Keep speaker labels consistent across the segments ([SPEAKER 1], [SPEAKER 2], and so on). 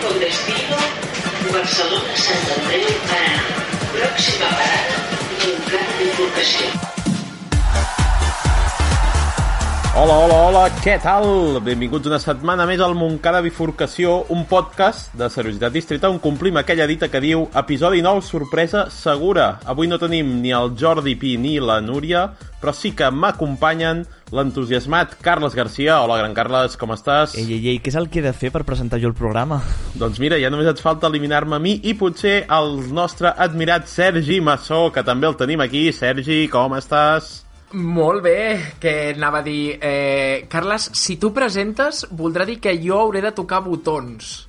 [SPEAKER 1] Vigo, Barcelona, Santander, Paraná. Próxima parada, Montclar Bifurcació.
[SPEAKER 2] Hola, hola, hola, què tal? Benvinguts una setmana més al Montcada Bifurcació, un podcast de Seriositat Distrita on complim aquella dita que diu episodi 9, sorpresa segura. Avui no tenim ni el Jordi Pi ni la Núria, però sí que m'acompanyen l'entusiasmat Carles Garcia. Hola, gran Carles, com estàs?
[SPEAKER 3] Ei, ei, ei, què és el que he de fer per presentar jo el programa?
[SPEAKER 2] Doncs mira, ja només et falta eliminar-me a mi i potser el nostre admirat Sergi Massó, que també el tenim aquí. Sergi, com estàs?
[SPEAKER 4] Molt bé, que anava a dir... Eh, Carles, si tu presentes, voldrà dir que jo hauré de tocar botons.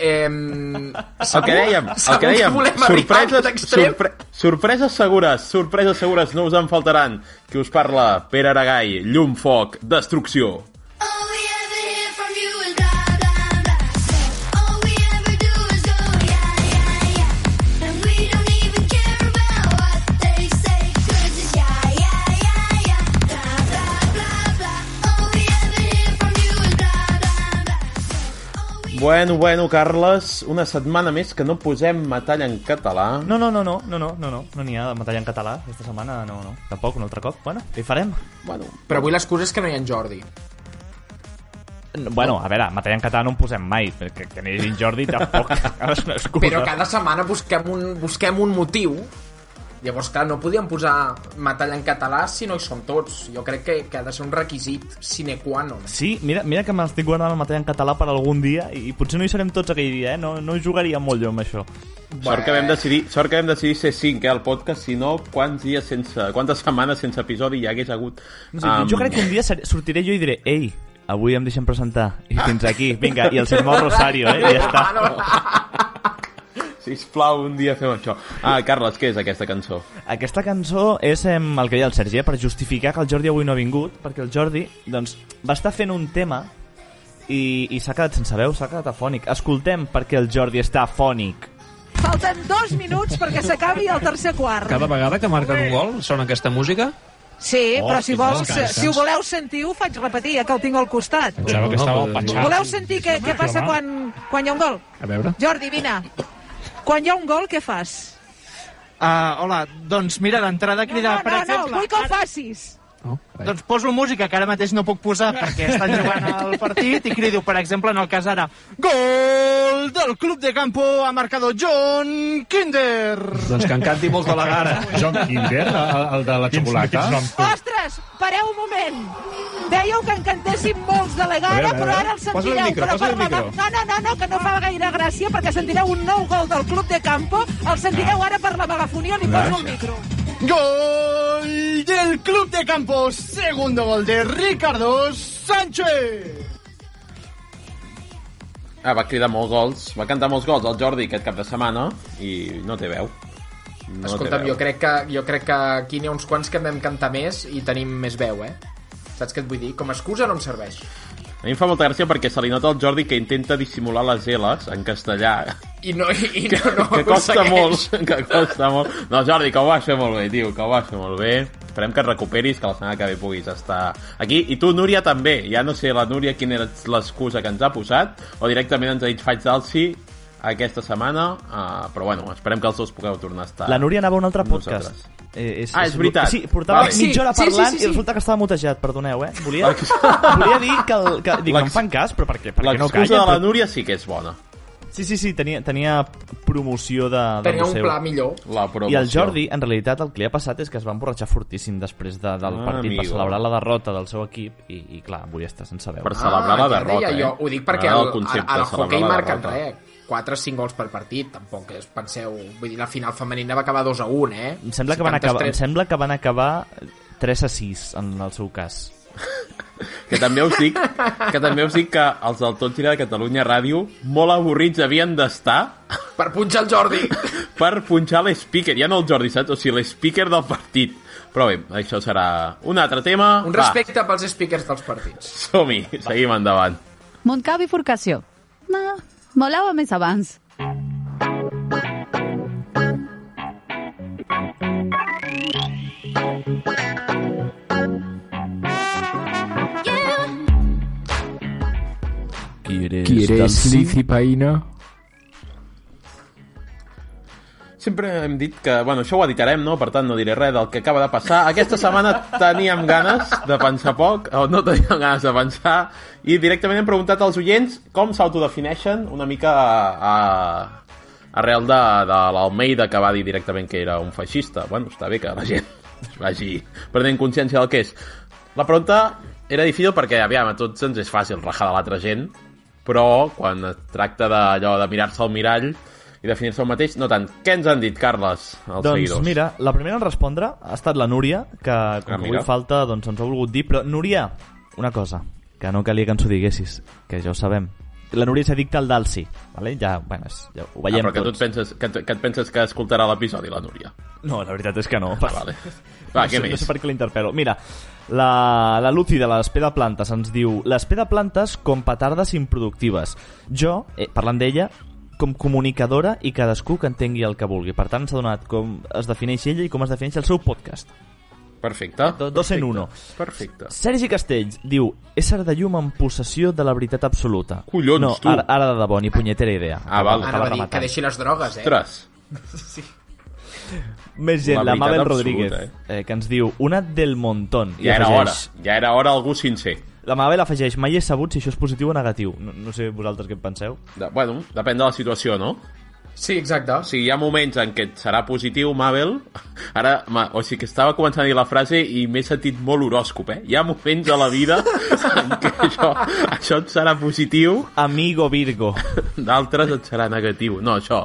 [SPEAKER 4] Eh,
[SPEAKER 2] El que dèiem, el que dèiem, sorpreses, sorpre sorpreses segures, sorpreses segures, no us en faltaran. Qui us parla? Pere Aragai, llum, foc, destrucció.
[SPEAKER 5] All we ever hear from you is blah blah blah. All we ever do is go yeah yeah yeah, and we don't even care about what they say 'cause it's yeah yeah yeah yeah, blah blah blah blah. All we ever hear from you is blah blah blah.
[SPEAKER 2] Bueno, bueno, Carles, una setmana més que no posem metall en català.
[SPEAKER 3] No, no, no, no, no, no, no, no, no n'hi ha de metall en català aquesta setmana, no, no, tampoc, un altre cop. Bueno, què hi farem?
[SPEAKER 2] Bueno,
[SPEAKER 4] Però avui l'excusa és que no hi ha en Jordi.
[SPEAKER 3] No, bueno, a veure, metall en català no en posem mai, perquè que n'hi hagi en Jordi tampoc és una excusa.
[SPEAKER 4] Però cada setmana busquem un, busquem un motiu. Llavors, clar, no podíem posar metall en català si no hi som tots. Jo crec que, que ha de ser un requisit sine qua non.
[SPEAKER 3] Sí, mira, mira que m'estic guardant el metall en català per algun dia i potser no hi serem tots aquell dia, eh? No, no hi jugaria molt jo amb això.
[SPEAKER 2] sort que vam decidir, sort que vam decidir ser 5, eh, el podcast, si no, quants dies sense, quantes setmanes sense episodi hi hagués hagut.
[SPEAKER 3] No sé, um... Jo crec que un dia ser- sortiré jo i diré Ei, avui em deixem presentar i fins aquí, vinga, i el Sermó Rosario, eh? I ja està.
[SPEAKER 4] Ah, no.
[SPEAKER 2] Sisplau, un dia fem això. Ah, Carles, què és aquesta cançó?
[SPEAKER 3] Aquesta cançó és em, el que deia el Sergi, eh, per justificar que el Jordi avui no ha vingut, perquè el Jordi doncs, va estar fent un tema i, i s'ha quedat sense veu, s'ha quedat afònic. Escoltem perquè el Jordi està afònic.
[SPEAKER 6] Falten dos minuts perquè s'acabi el tercer quart.
[SPEAKER 7] Cada vegada que marquen un gol sona aquesta música?
[SPEAKER 6] Sí,
[SPEAKER 3] Oh,
[SPEAKER 6] però si,
[SPEAKER 3] que Ah,
[SPEAKER 6] vols,
[SPEAKER 3] descanses.
[SPEAKER 6] si ho voleu sentir, ho faig repetir, ja que el tinc al costat.
[SPEAKER 7] Pensava que estava al panxat.
[SPEAKER 6] Voleu sentir què, què passa quan, quan hi ha un gol?
[SPEAKER 7] A veure.
[SPEAKER 6] Jordi, vine. Quan hi ha un gol, què fas?
[SPEAKER 8] Ah, hola, doncs mira, d'entrada cridar,
[SPEAKER 6] no,
[SPEAKER 8] per
[SPEAKER 6] no,
[SPEAKER 8] exemple...
[SPEAKER 6] no, vull que ho facis.
[SPEAKER 7] No? Doncs,
[SPEAKER 8] Doncs poso música, que ara mateix no puc posar perquè estan jugant al partit, i crido, per exemple, en el cas ara... Gol del Club de Campo ha marcat el John Kinder!
[SPEAKER 7] doncs que en canti molt de la gara.
[SPEAKER 9] John Kinder, el, el de la xocolata.
[SPEAKER 6] Ostres, pareu un moment. Dèieu que en cantéssim molts de la gara, però ara el sentireu. però per la mà- No, no, no, no, que no fa gaire gràcia, perquè sentireu un nou gol del Club de Campo, el
[SPEAKER 3] Ah.
[SPEAKER 6] sentireu ara per la megafonia, li poso el micro.
[SPEAKER 8] Gol del Club de Campo, segundo gol de Ricardo Sánchez!
[SPEAKER 2] Ah, va cridar molts gols, va cantar molts gols el Jordi aquest cap de setmana i no té veu. No
[SPEAKER 4] Escolta'm, jo crec, que, jo crec que aquí n'hi ha uns quants que en vam cantar més i tenim més veu, eh? Saps què et vull dir? Com a excusa no em serveix.
[SPEAKER 2] A mi em fa molta gràcia perquè se li nota al Jordi que intenta dissimular les L's en castellà,
[SPEAKER 4] I no, i, i no, no
[SPEAKER 2] que costa
[SPEAKER 4] aconsegueix.
[SPEAKER 2] molt, que costa molt. No, Jordi, que ho vas fer molt bé, tio, que ho vas fer molt bé. Esperem que et recuperis, que la setmana que ve puguis estar aquí. I tu, Núria, també. Ja no sé, la Núria, quina era l'excusa que ens ha posat, o directament ens ha dit faig d'alci aquesta setmana, uh, però bueno, esperem que els dos pugueu tornar a estar.
[SPEAKER 3] La Núria anava a un altre podcast.
[SPEAKER 2] Nosaltres.
[SPEAKER 3] Eh, és,
[SPEAKER 2] Ah, és veritat.
[SPEAKER 3] Sí, portava
[SPEAKER 2] Vale.
[SPEAKER 3] vale. mitja hora
[SPEAKER 4] Sí, sí, sí,
[SPEAKER 3] parlant sí, sí,
[SPEAKER 4] sí.
[SPEAKER 3] i resulta que estava mutejat, perdoneu, eh? Volia,
[SPEAKER 2] Ah, que-
[SPEAKER 3] volia dir que, el, que dic, no em
[SPEAKER 2] L'ex-
[SPEAKER 3] fan cas, però per què, per què no
[SPEAKER 2] L'excusa
[SPEAKER 3] callen?
[SPEAKER 2] de la
[SPEAKER 3] Però...
[SPEAKER 2] Núria sí que és bona.
[SPEAKER 3] Sí, sí, sí, tenia, tenia promoció de, de
[SPEAKER 4] Tenia un pla millor.
[SPEAKER 2] La promoció.
[SPEAKER 3] I el Jordi, en realitat, el que li ha passat és que es va emborratxar fortíssim després de, del
[SPEAKER 2] Ah,
[SPEAKER 3] ah, partit. Amigo.
[SPEAKER 2] amigo.
[SPEAKER 3] Va celebrar la derrota del seu equip i, i clar, avui està sense veu.
[SPEAKER 2] Per celebrar la
[SPEAKER 4] ja
[SPEAKER 2] derrota,
[SPEAKER 4] deia
[SPEAKER 2] eh?
[SPEAKER 4] Jo. Ho dic perquè
[SPEAKER 2] M'agrada
[SPEAKER 4] el,
[SPEAKER 2] el
[SPEAKER 4] el,
[SPEAKER 2] concepte,
[SPEAKER 4] el, el
[SPEAKER 2] celebrar
[SPEAKER 4] hockey
[SPEAKER 2] la
[SPEAKER 4] marquen
[SPEAKER 2] derrota.
[SPEAKER 4] res, 4 o 5 gols per partit, tampoc és, penseu, vull dir, la final femenina va acabar 2 a 1, eh?
[SPEAKER 3] Em sembla, que van acabar, em
[SPEAKER 4] 73.
[SPEAKER 3] sembla que van acabar 3 a 6 en el seu cas.
[SPEAKER 2] Que també us dic que, també us dic que els del Tot Gira de Catalunya Ràdio molt avorrits havien d'estar
[SPEAKER 4] Per punxar el Jordi!
[SPEAKER 2] per punxar l'speaker. Ja no el Jordi, saps? O sigui, l'speaker del partit. Però bé, això serà un altre tema.
[SPEAKER 4] Un respecte pels speakers dels partits.
[SPEAKER 2] Va, som-hi. Seguim endavant.
[SPEAKER 10] Montcà bifurcació. Ma, molava més abans.
[SPEAKER 3] Qui eres, Qui eres?
[SPEAKER 8] Cipaina?
[SPEAKER 2] Sempre hem dit que... Bueno, això ho editarem, no? Per tant, no diré res del que acaba de passar. Aquesta setmana teníem ganes de pensar poc, o no teníem ganes de pensar, i directament hem preguntat als oients com s'autodefineixen una mica a, a, arrel de, de l'Almeida, que va dir directament que era un feixista. Bueno, està bé que la gent es vagi prenent consciència del que és. La pregunta era difícil perquè, aviam, a tots ens és fàcil rajar de l'altra gent, però quan es tracta d'allò de mirar-se al mirall i definir-se el mateix, no tant. Què ens han dit, Carles, els
[SPEAKER 3] doncs
[SPEAKER 2] seguidors?
[SPEAKER 3] mira, la primera en respondre ha estat la Núria, que com
[SPEAKER 2] Ah,
[SPEAKER 3] que
[SPEAKER 2] mira.
[SPEAKER 3] avui falta doncs, ens ho ha volgut dir, però Núria, una cosa, que no calia que ens ho diguessis, que ja ho sabem. La Núria s'ha dictat el d'Alci, vale? ja, bueno, és, ja ho
[SPEAKER 2] ah,
[SPEAKER 3] veiem
[SPEAKER 2] però que tu
[SPEAKER 3] tots.
[SPEAKER 2] et penses que, et- que et penses que escoltarà l'episodi, la Núria.
[SPEAKER 3] No, la veritat és que no.
[SPEAKER 2] Ah, vale. Va,
[SPEAKER 3] no,
[SPEAKER 2] què
[SPEAKER 3] sé, no
[SPEAKER 2] més?
[SPEAKER 3] sé per què l'interpel·lo. Mira, la, la Lucy de l'Espé de Plantes ens diu L'Espé de Plantes com petardes improductives. Jo, eh, parlant d'ella, com comunicadora i cadascú que entengui el que vulgui. Per tant, s'ha donat com es defineix ella i com es defineix el seu podcast.
[SPEAKER 2] Perfecte.
[SPEAKER 3] Do- dos en
[SPEAKER 2] perfecte.
[SPEAKER 3] uno.
[SPEAKER 2] Perfecte.
[SPEAKER 3] Sergi Castells diu Ésser de llum en possessió de la veritat absoluta.
[SPEAKER 2] Collons,
[SPEAKER 3] no,
[SPEAKER 2] tu.
[SPEAKER 3] Ara, ara de debò, ni punyetera idea.
[SPEAKER 2] Ah, val.
[SPEAKER 4] Ara va dir
[SPEAKER 3] rematant.
[SPEAKER 4] que deixi les drogues, eh?
[SPEAKER 2] Ostres,
[SPEAKER 3] Més gent,
[SPEAKER 2] La
[SPEAKER 3] la,
[SPEAKER 2] veritat
[SPEAKER 3] Mabel
[SPEAKER 2] absoluta,
[SPEAKER 3] Rodríguez, eh? que ens diu Una del montón. I
[SPEAKER 2] ja era hora.
[SPEAKER 3] afegeix,
[SPEAKER 2] Ja era hora algú sincer.
[SPEAKER 3] La Mabel afegeix, mai he sabut si això és positiu o negatiu. No, no sé vosaltres què en penseu.
[SPEAKER 2] De, bueno, depèn de la situació, no?
[SPEAKER 4] Sí, exacte.
[SPEAKER 2] O sigui, hi ha moments en què et serà positiu, Mabel. Ara, ma, o sigui, que estava començant a dir la frase i m'he sentit molt horòscop, eh? Hi ha moments a la vida en què això, això et serà positiu,
[SPEAKER 3] Amigo Virgo.
[SPEAKER 2] d'altres et serà negatiu. No, això,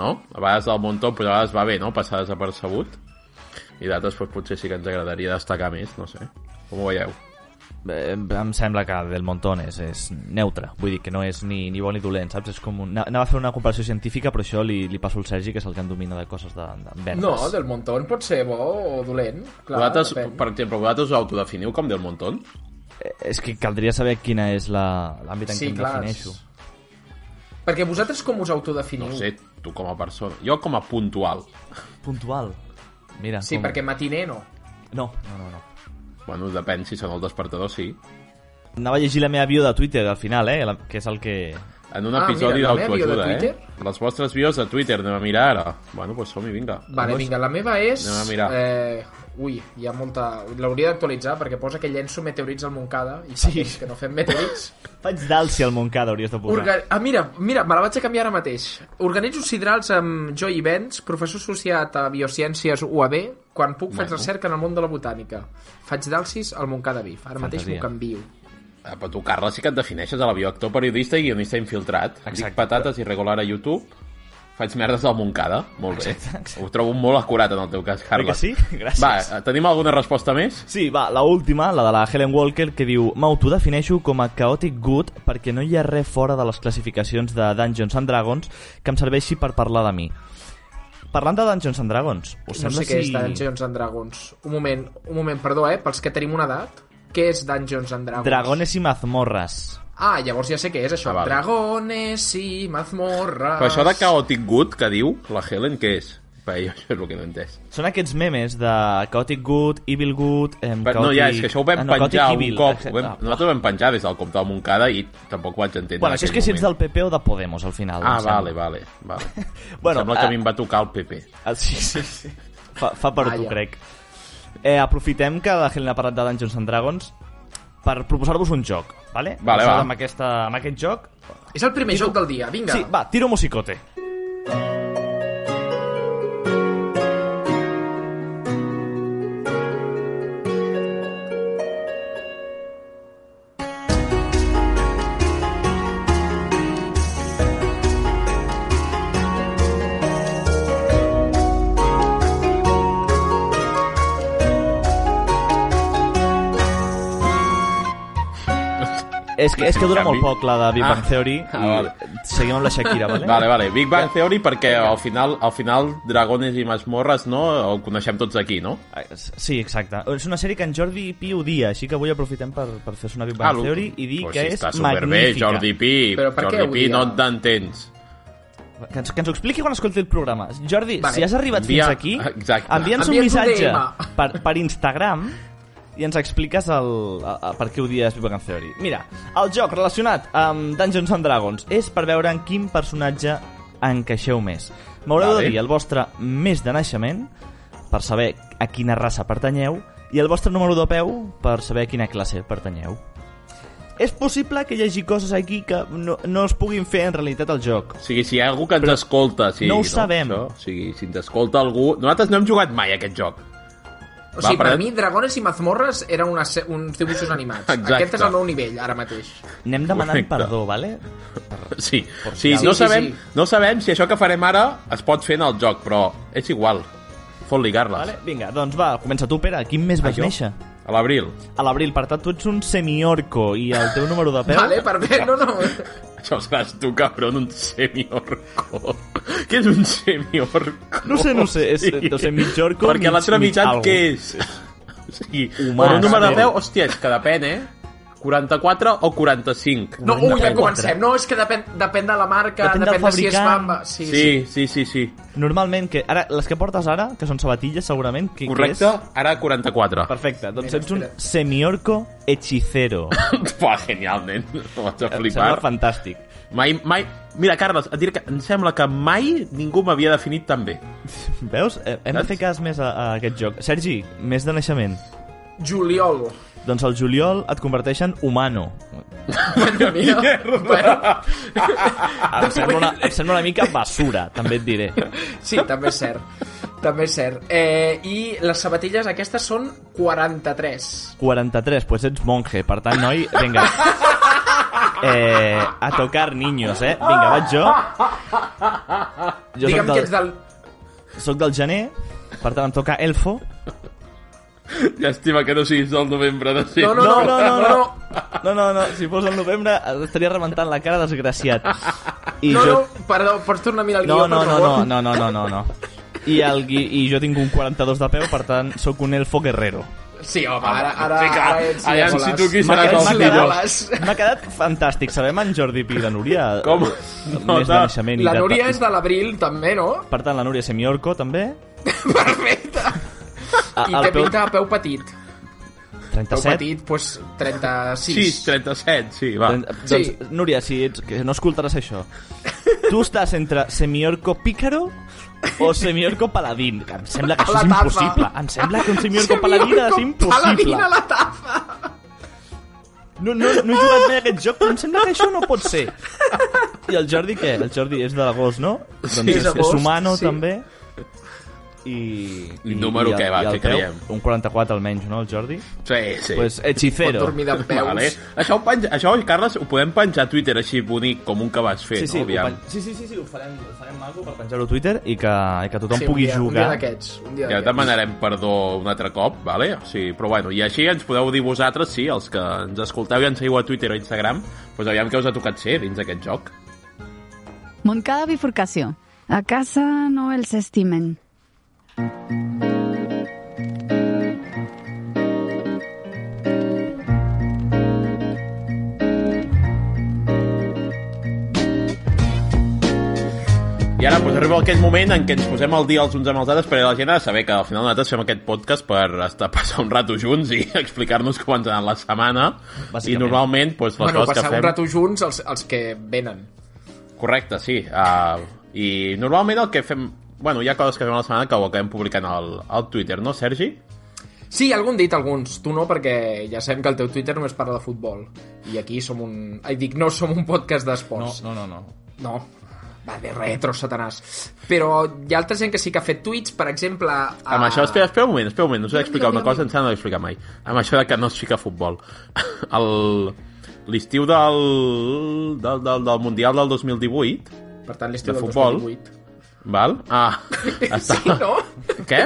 [SPEAKER 2] no? A vegades del montó, però a vegades va bé, no? Passar desapercebut. I d'altres, doncs, potser sí que ens agradaria destacar més, no sé. Com ho veieu?
[SPEAKER 3] Eh, em sembla que del montón és, és neutre. Vull dir que no és ni, ni bon ni dolent, saps? És com un... ana- Anava a fer una comparació científica, però això li, li passo al Sergi, que és el que en domina de coses de, de vendes.
[SPEAKER 4] No, del montón pot ser bo o dolent. Clar,
[SPEAKER 2] vosaltres,
[SPEAKER 4] depèn.
[SPEAKER 2] per exemple, vosaltres us autodefiniu com del montón?
[SPEAKER 3] Eh, És que caldria saber quina és la- l'àmbit en
[SPEAKER 4] Sí,
[SPEAKER 3] què em
[SPEAKER 4] clar.
[SPEAKER 3] defineixo.
[SPEAKER 4] Perquè vosaltres com us autodefiniu?
[SPEAKER 2] No sé, tu com a persona. Jo com a puntual.
[SPEAKER 3] Puntual. Mira,
[SPEAKER 4] Sí,
[SPEAKER 3] com...
[SPEAKER 4] perquè matiner no.
[SPEAKER 3] No, no, no, no.
[SPEAKER 2] Bueno, depèn si són el despertador, sí.
[SPEAKER 3] Anava a llegir la meva bio de Twitter al final, eh? La, que és el que...
[SPEAKER 2] En un
[SPEAKER 4] Ah,
[SPEAKER 2] episodi
[SPEAKER 4] mira, la meva bio de
[SPEAKER 2] d'autoajuda, eh?
[SPEAKER 4] Twitter?
[SPEAKER 2] Les vostres bios de Twitter, anem a mirar ara. Bueno, doncs pues som-hi, vinga.
[SPEAKER 4] Vale,
[SPEAKER 2] Vamos.
[SPEAKER 4] vinga, la meva és...
[SPEAKER 2] Anem a mirar.
[SPEAKER 4] Eh, ui, hi ha molta... L'hauria d'actualitzar perquè posa que llenço meteorits al Montcada i sí. que no fem meteorits.
[SPEAKER 3] Faig d'alci al Montcada, hauries de posar.
[SPEAKER 4] Orga... Ah, mira, mira, me la vaig a canviar ara mateix. Organitzo sidrals amb Joy Benz, professor associat a Biociències UAB, quan puc faig recerca en el món de la botànica. Faig d'alcis al Montcada Vif. Ara mateix m'ho
[SPEAKER 3] Fantasia.
[SPEAKER 4] canvio.
[SPEAKER 2] Ah, però tu, Carles, sí que et defineixes a l'avió actor, periodista i guionista infiltrat. Exacte. Dic patates irregular a YouTube. Faig merdes del Montcada. Molt bé. Exacte, exacte. Ho trobo molt acurat en el teu cas,
[SPEAKER 3] Oi que
[SPEAKER 2] Carles.
[SPEAKER 3] sí? Gràcies.
[SPEAKER 2] Va, eh, tenim alguna resposta més?
[SPEAKER 3] Sí, va, la última, la de la Helen Walker, que diu M'autodefineixo com a chaotic good perquè no hi ha res fora de les classificacions de Dungeons and Dragons que em serveixi per parlar de mi. Parlant de Dungeons and Dragons, us
[SPEAKER 4] No
[SPEAKER 3] sembla
[SPEAKER 4] sé què és
[SPEAKER 3] si...
[SPEAKER 4] Dungeons and Dragons. Un moment, un moment, perdó, eh? Pels que tenim una edat, què és Dungeons and Dragons?
[SPEAKER 3] Dragones i mazmorras.
[SPEAKER 4] Ah, llavors ja sé què és això.
[SPEAKER 2] Ah,
[SPEAKER 4] Ah,
[SPEAKER 2] vale.
[SPEAKER 4] Dragones i mazmorras...
[SPEAKER 2] Però això de Chaotic Good que diu la Helen, què és? Per jo això és el que no he entès.
[SPEAKER 3] Són aquests memes de chaotic good, evil good... Em,
[SPEAKER 2] Però, no,
[SPEAKER 3] chaotic...
[SPEAKER 2] ja, és que això ho vam
[SPEAKER 3] Ah, no, chaotic
[SPEAKER 2] penjar un
[SPEAKER 3] evil,
[SPEAKER 2] cop. Ho
[SPEAKER 3] exacte.
[SPEAKER 2] vam, nosaltres ho vam penjar des del compte del Montcada i tampoc ho vaig entendre.
[SPEAKER 3] Bueno,
[SPEAKER 2] en
[SPEAKER 3] això és
[SPEAKER 2] aquell
[SPEAKER 3] que si ets
[SPEAKER 2] moment.
[SPEAKER 3] del PP o de Podemos, al final.
[SPEAKER 2] Ah,
[SPEAKER 3] em sembla.
[SPEAKER 2] vale, vale. vale.
[SPEAKER 3] Bueno,
[SPEAKER 2] bueno, sembla que a
[SPEAKER 3] ah,
[SPEAKER 2] mi em va tocar el PP.
[SPEAKER 3] Ah, sí, sí, sí. Fa, fa per tu,
[SPEAKER 4] Vaja.
[SPEAKER 3] crec. Eh, aprofitem que la Helen ha parlat de Dungeons and Dragons per proposar-vos un joc, vale?
[SPEAKER 2] Vale,
[SPEAKER 3] Aleshores,
[SPEAKER 2] va.
[SPEAKER 3] Amb, aquesta, amb aquest joc...
[SPEAKER 4] És el primer joc del dia, vinga.
[SPEAKER 3] Sí, va, tiro musicote. És que, és que dura
[SPEAKER 2] Canvi.
[SPEAKER 3] molt poc la de Big Bang
[SPEAKER 2] Ah.
[SPEAKER 3] Theory
[SPEAKER 2] Ah,
[SPEAKER 3] i
[SPEAKER 2] vale.
[SPEAKER 3] seguim amb la Shakira, vale?
[SPEAKER 2] Vale, vale. Big Bang Theory perquè al final, al final Dragones i Masmorres no? ho coneixem tots aquí, no?
[SPEAKER 3] Ah, Sí, exacte. És una sèrie que en Jordi Pi odia, així que avui aprofitem per, per fer sonar Big Bang
[SPEAKER 2] lo-
[SPEAKER 3] Theory i dir
[SPEAKER 2] Ah, Pues
[SPEAKER 3] que
[SPEAKER 2] sí,
[SPEAKER 3] és
[SPEAKER 2] està superbé,
[SPEAKER 3] magnífica.
[SPEAKER 2] Jordi Pi.
[SPEAKER 4] Però per què
[SPEAKER 2] Jordi Pi,
[SPEAKER 4] odia?
[SPEAKER 2] no t'entens.
[SPEAKER 3] Que ens, que ens ho expliqui quan escolti el programa. Jordi,
[SPEAKER 4] Vale.
[SPEAKER 3] si has arribat
[SPEAKER 2] Envia-
[SPEAKER 3] fins aquí,
[SPEAKER 2] Exacte.
[SPEAKER 3] envia'ns un
[SPEAKER 4] Envia'ns un
[SPEAKER 3] missatge
[SPEAKER 4] DM.
[SPEAKER 3] per, per Instagram i ens expliques el, a, a, per què odies Big Bang Theory. Mira, el joc relacionat amb Dungeons and Dragons és per veure en quin personatge encaixeu més. M'haureu
[SPEAKER 2] Vale.
[SPEAKER 3] de dir el vostre mes de naixement per saber a quina raça pertanyeu i el vostre número de peu per saber a quina classe pertanyeu. És possible que hi hagi coses aquí que no, no es puguin fer en realitat al joc.
[SPEAKER 2] O sigui, si hi ha algú que ens Però escolta... Sí,
[SPEAKER 3] no ho sabem.
[SPEAKER 2] Això, o sigui, si ens escolta algú... Nosaltres no hem jugat mai a aquest joc.
[SPEAKER 4] O
[SPEAKER 2] Va,
[SPEAKER 4] sigui, per
[SPEAKER 2] però-
[SPEAKER 4] a mi, Dragones i Mazmorres eren unes, uns dibuixos animats.
[SPEAKER 2] Exacte.
[SPEAKER 4] Aquest és el meu nivell, ara mateix.
[SPEAKER 3] Anem demanant
[SPEAKER 2] Correcte.
[SPEAKER 3] perdó, vale?
[SPEAKER 2] Sí, sí,
[SPEAKER 4] Sí,
[SPEAKER 2] no,
[SPEAKER 4] sí,
[SPEAKER 2] sabem,
[SPEAKER 4] sí.
[SPEAKER 2] no sabem si això que farem ara es pot fer en el joc, però és igual. Fot ligar-les.
[SPEAKER 3] vale? Vinga, doncs va, comença tu, Pere. Quin mes vas
[SPEAKER 2] jo?
[SPEAKER 3] néixer?
[SPEAKER 2] A l'abril.
[SPEAKER 3] A l'abril, per tant, tu ets un semiorco i el teu número de peu...
[SPEAKER 4] Vale, perfecte. No, no.
[SPEAKER 2] Això ho saps tu, cabron, un semiorco. Què és un semiorco?
[SPEAKER 3] No sé, no sé, és, no sé, mig orco,
[SPEAKER 2] Perquè
[SPEAKER 3] mig-
[SPEAKER 2] l'altre
[SPEAKER 3] mig
[SPEAKER 2] mitjan,
[SPEAKER 3] algo.
[SPEAKER 2] què és? O sigui,
[SPEAKER 3] Humà,
[SPEAKER 2] Humà, un número de
[SPEAKER 3] sabeu.
[SPEAKER 2] peu, hòstia, és que depèn, eh? 44 o 45?
[SPEAKER 4] No, ui, ja
[SPEAKER 3] Depèn.
[SPEAKER 4] comencem. No, és que depèn, depèn de la marca,
[SPEAKER 3] Depèn
[SPEAKER 4] depèn,
[SPEAKER 3] del
[SPEAKER 4] de si és
[SPEAKER 3] fabricant.
[SPEAKER 4] mamba. Sí, sí.
[SPEAKER 2] Sí, sí, sí, sí.
[SPEAKER 3] Normalment, que ara, les que portes ara, que són sabatilles, segurament, que,
[SPEAKER 2] Correcte,
[SPEAKER 3] Que
[SPEAKER 2] ara 44.
[SPEAKER 3] és... Perfecte, doncs
[SPEAKER 4] Mira,
[SPEAKER 3] ets un
[SPEAKER 4] espera.
[SPEAKER 3] semiorco hechicero.
[SPEAKER 2] Pua, genial, nen. Ho vaig a
[SPEAKER 3] Em sembla
[SPEAKER 2] flipar.
[SPEAKER 3] fantàstic.
[SPEAKER 2] Mai, mai... Mira, Carles, et diré que em sembla que mai ningú m'havia definit tan bé.
[SPEAKER 3] Veus? Eh, Hem de
[SPEAKER 2] Saps?
[SPEAKER 3] fer cas més a, a aquest joc. Sergi, més de naixement.
[SPEAKER 4] Juliol.
[SPEAKER 3] Doncs al juliol et converteixen humano.
[SPEAKER 4] Bueno, mira. Bueno,
[SPEAKER 3] Em sembla una, em sembla una mica basura, també et diré.
[SPEAKER 4] sí, també és cert. També és cert. Eh, I les sabatilles aquestes són 43.
[SPEAKER 3] 43, pues ets monje, per tant, noi, vinga. Eh, a tocar niños, eh? Vinga, vaig jo. Jo soc
[SPEAKER 4] Digue'm que
[SPEAKER 3] del,
[SPEAKER 4] ets del...
[SPEAKER 3] soc del gener, per tant em toca elfo.
[SPEAKER 2] Llàstima que no siguis del novembre de ser.
[SPEAKER 4] No, no,
[SPEAKER 3] No,
[SPEAKER 4] no,
[SPEAKER 3] no, no, no. No, no, no. Si fos el novembre estaria rebentant la cara desgraciat. I
[SPEAKER 4] No,
[SPEAKER 3] jo...
[SPEAKER 4] no, perdó, pots tornar a mirar el
[SPEAKER 3] No,
[SPEAKER 4] guió,
[SPEAKER 3] no,
[SPEAKER 4] per
[SPEAKER 3] no,
[SPEAKER 4] favor?
[SPEAKER 3] no, no, no, no, no, no. I, el, gui- I jo tinc un 42 de peu, per tant, sóc un elfo guerrero.
[SPEAKER 4] Sí, home, ara, ara,
[SPEAKER 2] Vinga,
[SPEAKER 4] ara ets
[SPEAKER 2] aviam si
[SPEAKER 4] Legolas.
[SPEAKER 2] tu qui
[SPEAKER 4] M'ha
[SPEAKER 2] seràs
[SPEAKER 4] quedat
[SPEAKER 3] el
[SPEAKER 2] millor.
[SPEAKER 4] Legolas.
[SPEAKER 3] M'ha quedat fantàstic. Sabem en Jordi Pi de Núria. el-
[SPEAKER 2] Com?
[SPEAKER 3] el
[SPEAKER 2] No,
[SPEAKER 3] Mes de
[SPEAKER 2] no.
[SPEAKER 3] naixement. i
[SPEAKER 4] La
[SPEAKER 3] de-
[SPEAKER 4] Núria és de l'abril, també, no?
[SPEAKER 3] Per tant, la Núria Semiorco, també.
[SPEAKER 4] Perfecte.
[SPEAKER 3] A-
[SPEAKER 2] Ah,
[SPEAKER 4] I
[SPEAKER 3] al
[SPEAKER 4] té
[SPEAKER 3] Ah, peu-
[SPEAKER 4] pinta de peu petit. Peu
[SPEAKER 3] 37.
[SPEAKER 4] petit, doncs 36.
[SPEAKER 2] 6, 37, sí, va.
[SPEAKER 3] Doncs,
[SPEAKER 4] Sí.
[SPEAKER 3] doncs, Núria, si ets, que no escoltaràs això. Tu estàs entre Semiorco Pícaro o Semiorco Paladín. Que em sembla que
[SPEAKER 4] A
[SPEAKER 3] això
[SPEAKER 4] la
[SPEAKER 3] és
[SPEAKER 4] tapa.
[SPEAKER 3] impossible. Em sembla que un Semiorco Paladín és impossible.
[SPEAKER 4] Paladín a la tapa.
[SPEAKER 3] No, no, no he jugat mai a aquest joc, però em sembla que això no pot ser. I el Jordi, què? El Jordi és de l'agost, no? Doncs
[SPEAKER 4] és
[SPEAKER 3] és, és
[SPEAKER 4] agost,
[SPEAKER 3] humano,
[SPEAKER 4] sí.
[SPEAKER 3] també. I,
[SPEAKER 2] I número
[SPEAKER 3] el-
[SPEAKER 2] què, va,
[SPEAKER 3] i el
[SPEAKER 2] què
[SPEAKER 3] teu?
[SPEAKER 2] creiem?
[SPEAKER 3] Un 44 almenys, no, el Jordi?
[SPEAKER 2] Sí, sí.
[SPEAKER 3] Pues hechicero.
[SPEAKER 4] Pot dormir de peus.
[SPEAKER 2] Vale. Això, ho penja, això, Carles, ho podem penjar a Twitter així bonic, com un que vas fer,
[SPEAKER 3] Sí,
[SPEAKER 2] no?
[SPEAKER 3] sí, ho pen- sí, sí, sí, sí, ho farem, ho farem maco per penjar-ho a Twitter i que, i que tothom
[SPEAKER 4] Sí,
[SPEAKER 3] pugui
[SPEAKER 4] un dia, Un dia
[SPEAKER 3] jugar.
[SPEAKER 4] d'aquests. Un dia
[SPEAKER 2] Ja
[SPEAKER 4] d'aquests.
[SPEAKER 2] demanarem perdó un altre cop, vale? O sigui, però bueno, i així ens podeu dir vosaltres, sí, els que ens escolteu i ens seguiu a Twitter o Instagram, doncs aviam què us ha tocat ser dins d'aquest joc.
[SPEAKER 10] Montcada bifurcació. A casa no els estimen.
[SPEAKER 2] I ara doncs, arriba aquell moment en què ens posem al dia els uns amb els altres perquè la gent ha de saber que al final nosaltres fem aquest podcast per estar passar un rato junts i explicar-nos com ens ha anat la setmana. I
[SPEAKER 3] Bàsicament.
[SPEAKER 2] normalment, doncs, les
[SPEAKER 4] Bueno,
[SPEAKER 2] coses que
[SPEAKER 4] passar
[SPEAKER 2] fem...
[SPEAKER 4] un rato junts els, els que venen.
[SPEAKER 2] Correcte, sí. Uh, I normalment el que fem... Bueno, hi ha coses que fem a la setmana que ho acabem publicant al, al Twitter, no, Sergi?
[SPEAKER 4] Sí, algun dit, alguns. Tu no, perquè ja sabem que el teu Twitter només parla de futbol. I aquí som un... Ai, dic, no som un podcast
[SPEAKER 3] No,
[SPEAKER 4] d'esports.
[SPEAKER 3] no, no, no.
[SPEAKER 4] No. Va, de retro, satanàs. Però hi ha altra gent que sí que ha fet tuits, per exemple... A...
[SPEAKER 2] Amb això, espera, espera un moment, espera un moment, us he d'explicar una cosa, ens no l'he explicat mai. Amb això de que no es fica a futbol. El- L'estiu del, del, del, del Mundial del 2018,
[SPEAKER 4] Per tant, l'estiu
[SPEAKER 2] de
[SPEAKER 4] del
[SPEAKER 2] futbol.
[SPEAKER 4] 2018.
[SPEAKER 2] val? Ah, està...
[SPEAKER 4] Sí, no?
[SPEAKER 2] Què?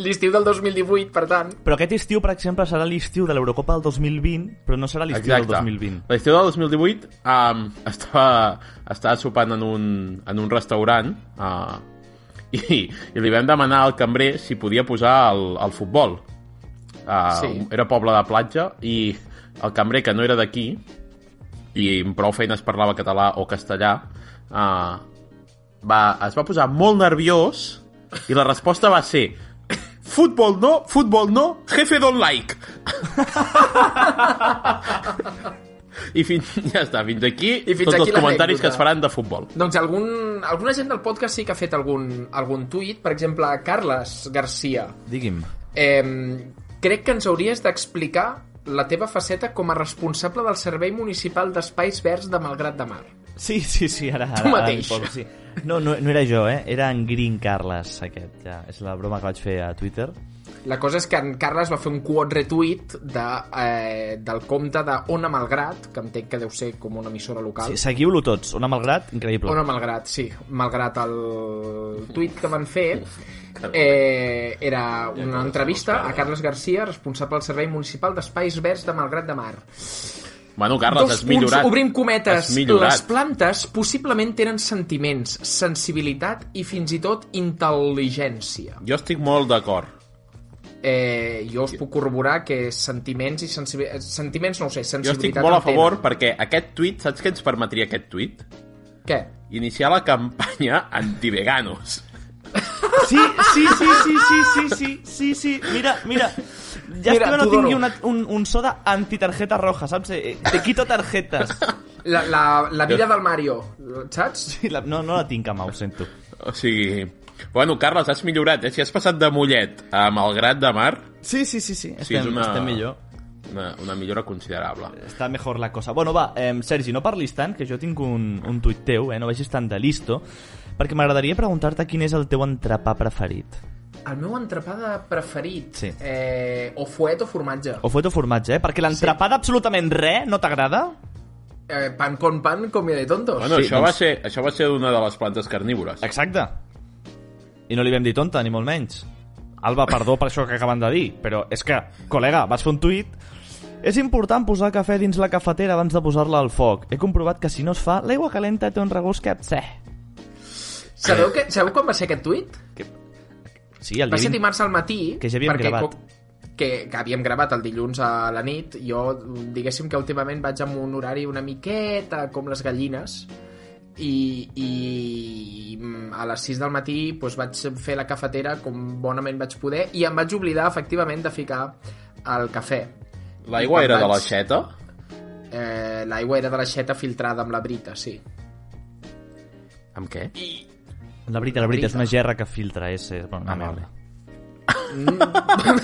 [SPEAKER 4] L'estiu del 2018, per tant.
[SPEAKER 3] Però aquest estiu, per exemple, serà l'estiu de l'Eurocopa del 2020, però no serà l'estiu del 2020.
[SPEAKER 2] L'estiu del 2018 um, estava, estava sopant en un, en un restaurant uh, i, i li vam demanar al cambrer si podia posar el, el futbol. Uh,
[SPEAKER 4] Sí.
[SPEAKER 2] sí. Era poble de platja i el cambrer, que no era d'aquí, i amb prou feines parlava català o castellà, uh, va, es va posar molt nerviós i la resposta va ser Futbol no, futbol no, jefe don't like. I fins, ja està, fins aquí
[SPEAKER 4] I fins
[SPEAKER 2] tots
[SPEAKER 4] aquí
[SPEAKER 2] els comentaris
[SPEAKER 4] l'anècdota.
[SPEAKER 2] que es faran de futbol.
[SPEAKER 4] Doncs algun, alguna gent del podcast sí que ha fet algun, algun tuit, per exemple, Carles Garcia.
[SPEAKER 3] Digui'm.
[SPEAKER 4] Eh, crec que ens hauries d'explicar la teva faceta com a responsable del Servei Municipal d'Espais Verds de Malgrat de Mar.
[SPEAKER 3] Sí, sí, sí, ara... ara
[SPEAKER 4] Tu
[SPEAKER 3] ara em
[SPEAKER 4] mateix.
[SPEAKER 3] poso, sí. No, no, no era jo, eh? Era en Green Carles, aquest. Ja. És la broma que vaig fer a Twitter.
[SPEAKER 4] La cosa és que en Carles va fer un quote retweet de, eh, del compte de Ona Malgrat, que entenc que deu ser com una emissora local.
[SPEAKER 3] Sí, Seguiu-lo tots. Una malgrat, increïble.
[SPEAKER 4] Ona Malgrat, sí. Malgrat el tuit que van fer, eh, era una entrevista a Carles Garcia, responsable del Servei Municipal d'Espais Verds de Malgrat de Mar.
[SPEAKER 2] Bueno, Carles,
[SPEAKER 4] Dos
[SPEAKER 2] has millorat.
[SPEAKER 4] punts, obrim cometes.
[SPEAKER 2] Has millorat.
[SPEAKER 4] Les plantes possiblement tenen sentiments, sensibilitat i fins i tot intel·ligència.
[SPEAKER 2] Jo estic molt d'acord.
[SPEAKER 4] Eh, jo us puc corroborar que sentiments i sensibilitat... Sentiments, no ho sé,
[SPEAKER 2] Jo estic
[SPEAKER 4] sensibilitat...
[SPEAKER 2] molt a
[SPEAKER 4] en tenen.
[SPEAKER 2] favor perquè aquest tuit, saps què ens permetria aquest tuit?
[SPEAKER 4] Què?
[SPEAKER 2] Iniciar la campanya antiveganos.
[SPEAKER 3] Sí, sí, sí, sí, sí, sí, sí, sí, sí. Mira, mira. Ja
[SPEAKER 4] Mira,
[SPEAKER 3] mira, no
[SPEAKER 4] Tudoro.
[SPEAKER 3] tingui una, un, un so de antitarjeta roja, saps? Eh, eh, Te quito tarjetes.
[SPEAKER 4] La, la, la vida del Mario, saps?
[SPEAKER 3] Sí, la, no, no la tinc a mà, ho sento.
[SPEAKER 2] O sigui... Bueno, Carles, has millorat, eh? Si has passat de Mollet a Malgrat de Mar,
[SPEAKER 3] Sí, sí, sí, sí.
[SPEAKER 2] Sí, és
[SPEAKER 3] Estem,
[SPEAKER 2] una-
[SPEAKER 3] estem millor.
[SPEAKER 2] una, una millora considerable.
[SPEAKER 3] Està mejor la cosa. Bueno, va, eh, Sergi, no parlis tant, que jo tinc un, un tuit teu, eh? No vagis tant de listo. Perquè m'agradaria preguntar-te quin és el teu entrepà preferit.
[SPEAKER 4] El meu entrepà de preferit.
[SPEAKER 3] Sí.
[SPEAKER 4] Eh, o fuet o formatge.
[SPEAKER 3] O fuet o formatge, eh? Perquè l'entrepà d'absolutament res no t'agrada?
[SPEAKER 4] Eh, pan con pan, comida de tontos.
[SPEAKER 2] Bueno,
[SPEAKER 3] Sí,
[SPEAKER 2] això,
[SPEAKER 3] doncs-
[SPEAKER 2] va ser, això va ser una de les plantes carnívores.
[SPEAKER 3] Exacte. I no li vam dir tonta, ni molt menys. Alba, perdó per això que acaben de dir, però és que, col·lega, vas fer un tuit... És important posar cafè dins la cafetera abans de posar-la al foc. He comprovat que si no es fa, l'aigua calenta té un regust que... Sí,
[SPEAKER 4] Sabeu, que, sabeu quan va ser aquest tuit?
[SPEAKER 3] sí el
[SPEAKER 4] Va ser
[SPEAKER 3] dia 20...
[SPEAKER 4] dimarts al matí...
[SPEAKER 3] Que ja havíem
[SPEAKER 4] perquè
[SPEAKER 3] gravat.
[SPEAKER 4] co- Que, que havíem gravat el dilluns a la nit. Jo, diguéssim que últimament vaig amb un horari una miqueta com les gallines i, i mm, a les 6 del matí doncs, vaig fer la cafetera com bonament vaig poder i em vaig oblidar efectivament de ficar el cafè
[SPEAKER 2] L'aigua
[SPEAKER 4] I
[SPEAKER 2] era de
[SPEAKER 4] quan vaig-
[SPEAKER 2] l'aixeta?
[SPEAKER 4] eh, l'aigua era de l'aixeta filtrada amb la brita, sí
[SPEAKER 2] Amb què?
[SPEAKER 3] La brita, la brita, és una gerra que filtra, és... és
[SPEAKER 2] Ah,
[SPEAKER 3] bueno, una merda.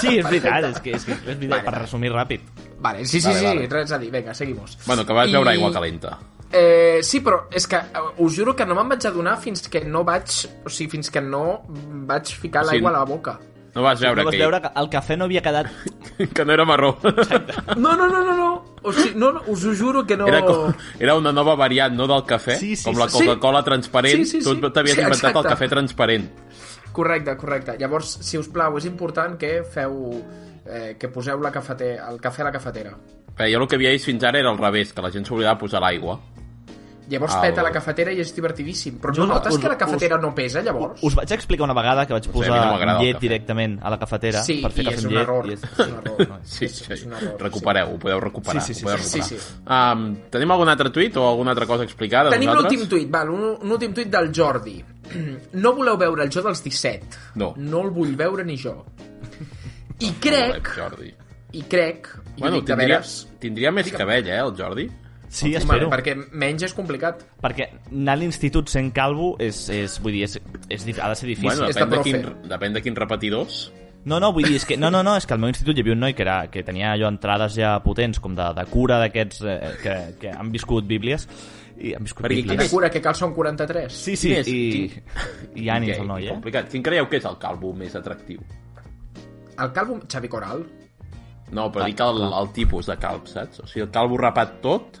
[SPEAKER 3] Sí, és veritat, és que és, que és veritat, per resumir ràpid.
[SPEAKER 4] Vale, sí, sí,
[SPEAKER 2] Vale,
[SPEAKER 4] sí,
[SPEAKER 2] vale.
[SPEAKER 4] res a dir, vinga, seguimos.
[SPEAKER 2] Bueno, que vas
[SPEAKER 4] I-
[SPEAKER 2] veure aigua calenta.
[SPEAKER 4] Eh, sí, però és que eh, us juro que no me'n vaig adonar fins que no vaig... O sigui, fins que no vaig ficar
[SPEAKER 2] O sigui,
[SPEAKER 4] l'aigua a la boca.
[SPEAKER 2] No vas veure,
[SPEAKER 3] No vas
[SPEAKER 2] que,
[SPEAKER 3] veure que el cafè no havia quedat...
[SPEAKER 2] que no era marró.
[SPEAKER 4] No, no, no, no, no. O sigui, no, no us ho juro que no...
[SPEAKER 2] Era, com, era una nova variant, no, del cafè?
[SPEAKER 3] Sí, sí,
[SPEAKER 2] com la
[SPEAKER 3] sí.
[SPEAKER 2] Coca-Cola transparent.
[SPEAKER 4] Sí, sí, sí.
[SPEAKER 2] Tu t'havies
[SPEAKER 4] Sí,
[SPEAKER 2] inventat
[SPEAKER 4] exacte.
[SPEAKER 2] el cafè transparent.
[SPEAKER 4] Correcte, correcte. Llavors, si us plau, és important que feu... Eh, que poseu la cafete, el cafè a la cafetera.
[SPEAKER 2] Però jo el que havia vist fins ara era al revés, que la gent s'oblidava de posar l'aigua.
[SPEAKER 4] Llavors
[SPEAKER 2] Ah,
[SPEAKER 4] peta
[SPEAKER 2] val.
[SPEAKER 4] la cafetera i és divertidíssim. Però
[SPEAKER 3] Jo
[SPEAKER 4] no,
[SPEAKER 3] no,
[SPEAKER 4] notes
[SPEAKER 3] us-
[SPEAKER 4] que la cafetera no pesa, llavors?
[SPEAKER 3] Us vaig explicar una vegada que vaig
[SPEAKER 2] a mi no
[SPEAKER 3] posar
[SPEAKER 2] m'agrada el
[SPEAKER 3] llet
[SPEAKER 2] cafè.
[SPEAKER 3] directament a la cafetera
[SPEAKER 4] Sí,
[SPEAKER 3] per fer
[SPEAKER 4] i
[SPEAKER 3] cafè
[SPEAKER 4] és
[SPEAKER 3] amb
[SPEAKER 4] un
[SPEAKER 3] llet.
[SPEAKER 4] error.
[SPEAKER 3] i
[SPEAKER 4] És un error.
[SPEAKER 2] Sí,
[SPEAKER 4] És-
[SPEAKER 2] sí,
[SPEAKER 4] és un error,
[SPEAKER 2] recupereu, ho podeu recuperar.
[SPEAKER 3] Sí, sí, sí,
[SPEAKER 2] ho podeu
[SPEAKER 4] sí,
[SPEAKER 2] recuperar.
[SPEAKER 4] sí, sí.
[SPEAKER 2] Um, tenim algun altre tuit o alguna altra cosa a explicar de
[SPEAKER 4] Tenim
[SPEAKER 2] nosaltres?
[SPEAKER 4] l'últim tuit, val, un, un últim tuit del Jordi. No voleu veure el jo dels 17.
[SPEAKER 2] No.
[SPEAKER 4] No el vull veure ni jo. I
[SPEAKER 2] Crec...
[SPEAKER 4] crec,
[SPEAKER 2] Jordi.
[SPEAKER 4] i crec, i bueno,
[SPEAKER 2] Bueno,
[SPEAKER 4] dic de
[SPEAKER 2] tindria,
[SPEAKER 4] veres,
[SPEAKER 2] tindria més cabell, eh, el Jordi?
[SPEAKER 3] Sí,
[SPEAKER 4] home,
[SPEAKER 3] espero.
[SPEAKER 4] perquè menys és complicat.
[SPEAKER 3] Perquè anar a l'institut sent calvo és, és, vull dir, és, és, dif- ha de ser difícil.
[SPEAKER 2] Bueno,
[SPEAKER 4] és
[SPEAKER 2] depèn
[SPEAKER 4] de
[SPEAKER 2] de,
[SPEAKER 4] profe.
[SPEAKER 2] quin, depèn de quin repetidors.
[SPEAKER 3] No, no, vull dir, és que, no, no, no, és que al meu institut hi havia un noi que, era, que tenia allò entrades ja potents, com de, de cura d'aquests eh, que, que han viscut bíblies. I han viscut
[SPEAKER 2] Perquè
[SPEAKER 3] bíblies.
[SPEAKER 4] Quina cura, que cal són 43.
[SPEAKER 3] Sí, sí,
[SPEAKER 2] Quin és?
[SPEAKER 3] i, i ànims
[SPEAKER 2] Gay,
[SPEAKER 3] el noi, eh?
[SPEAKER 2] Complicat. Quin creieu que és el calvo més atractiu?
[SPEAKER 4] El calvo... Xavi Coral.
[SPEAKER 2] No,
[SPEAKER 3] Ah,
[SPEAKER 2] però dic el, el tipus de calb, saps? O sigui, el calvo rapat tot,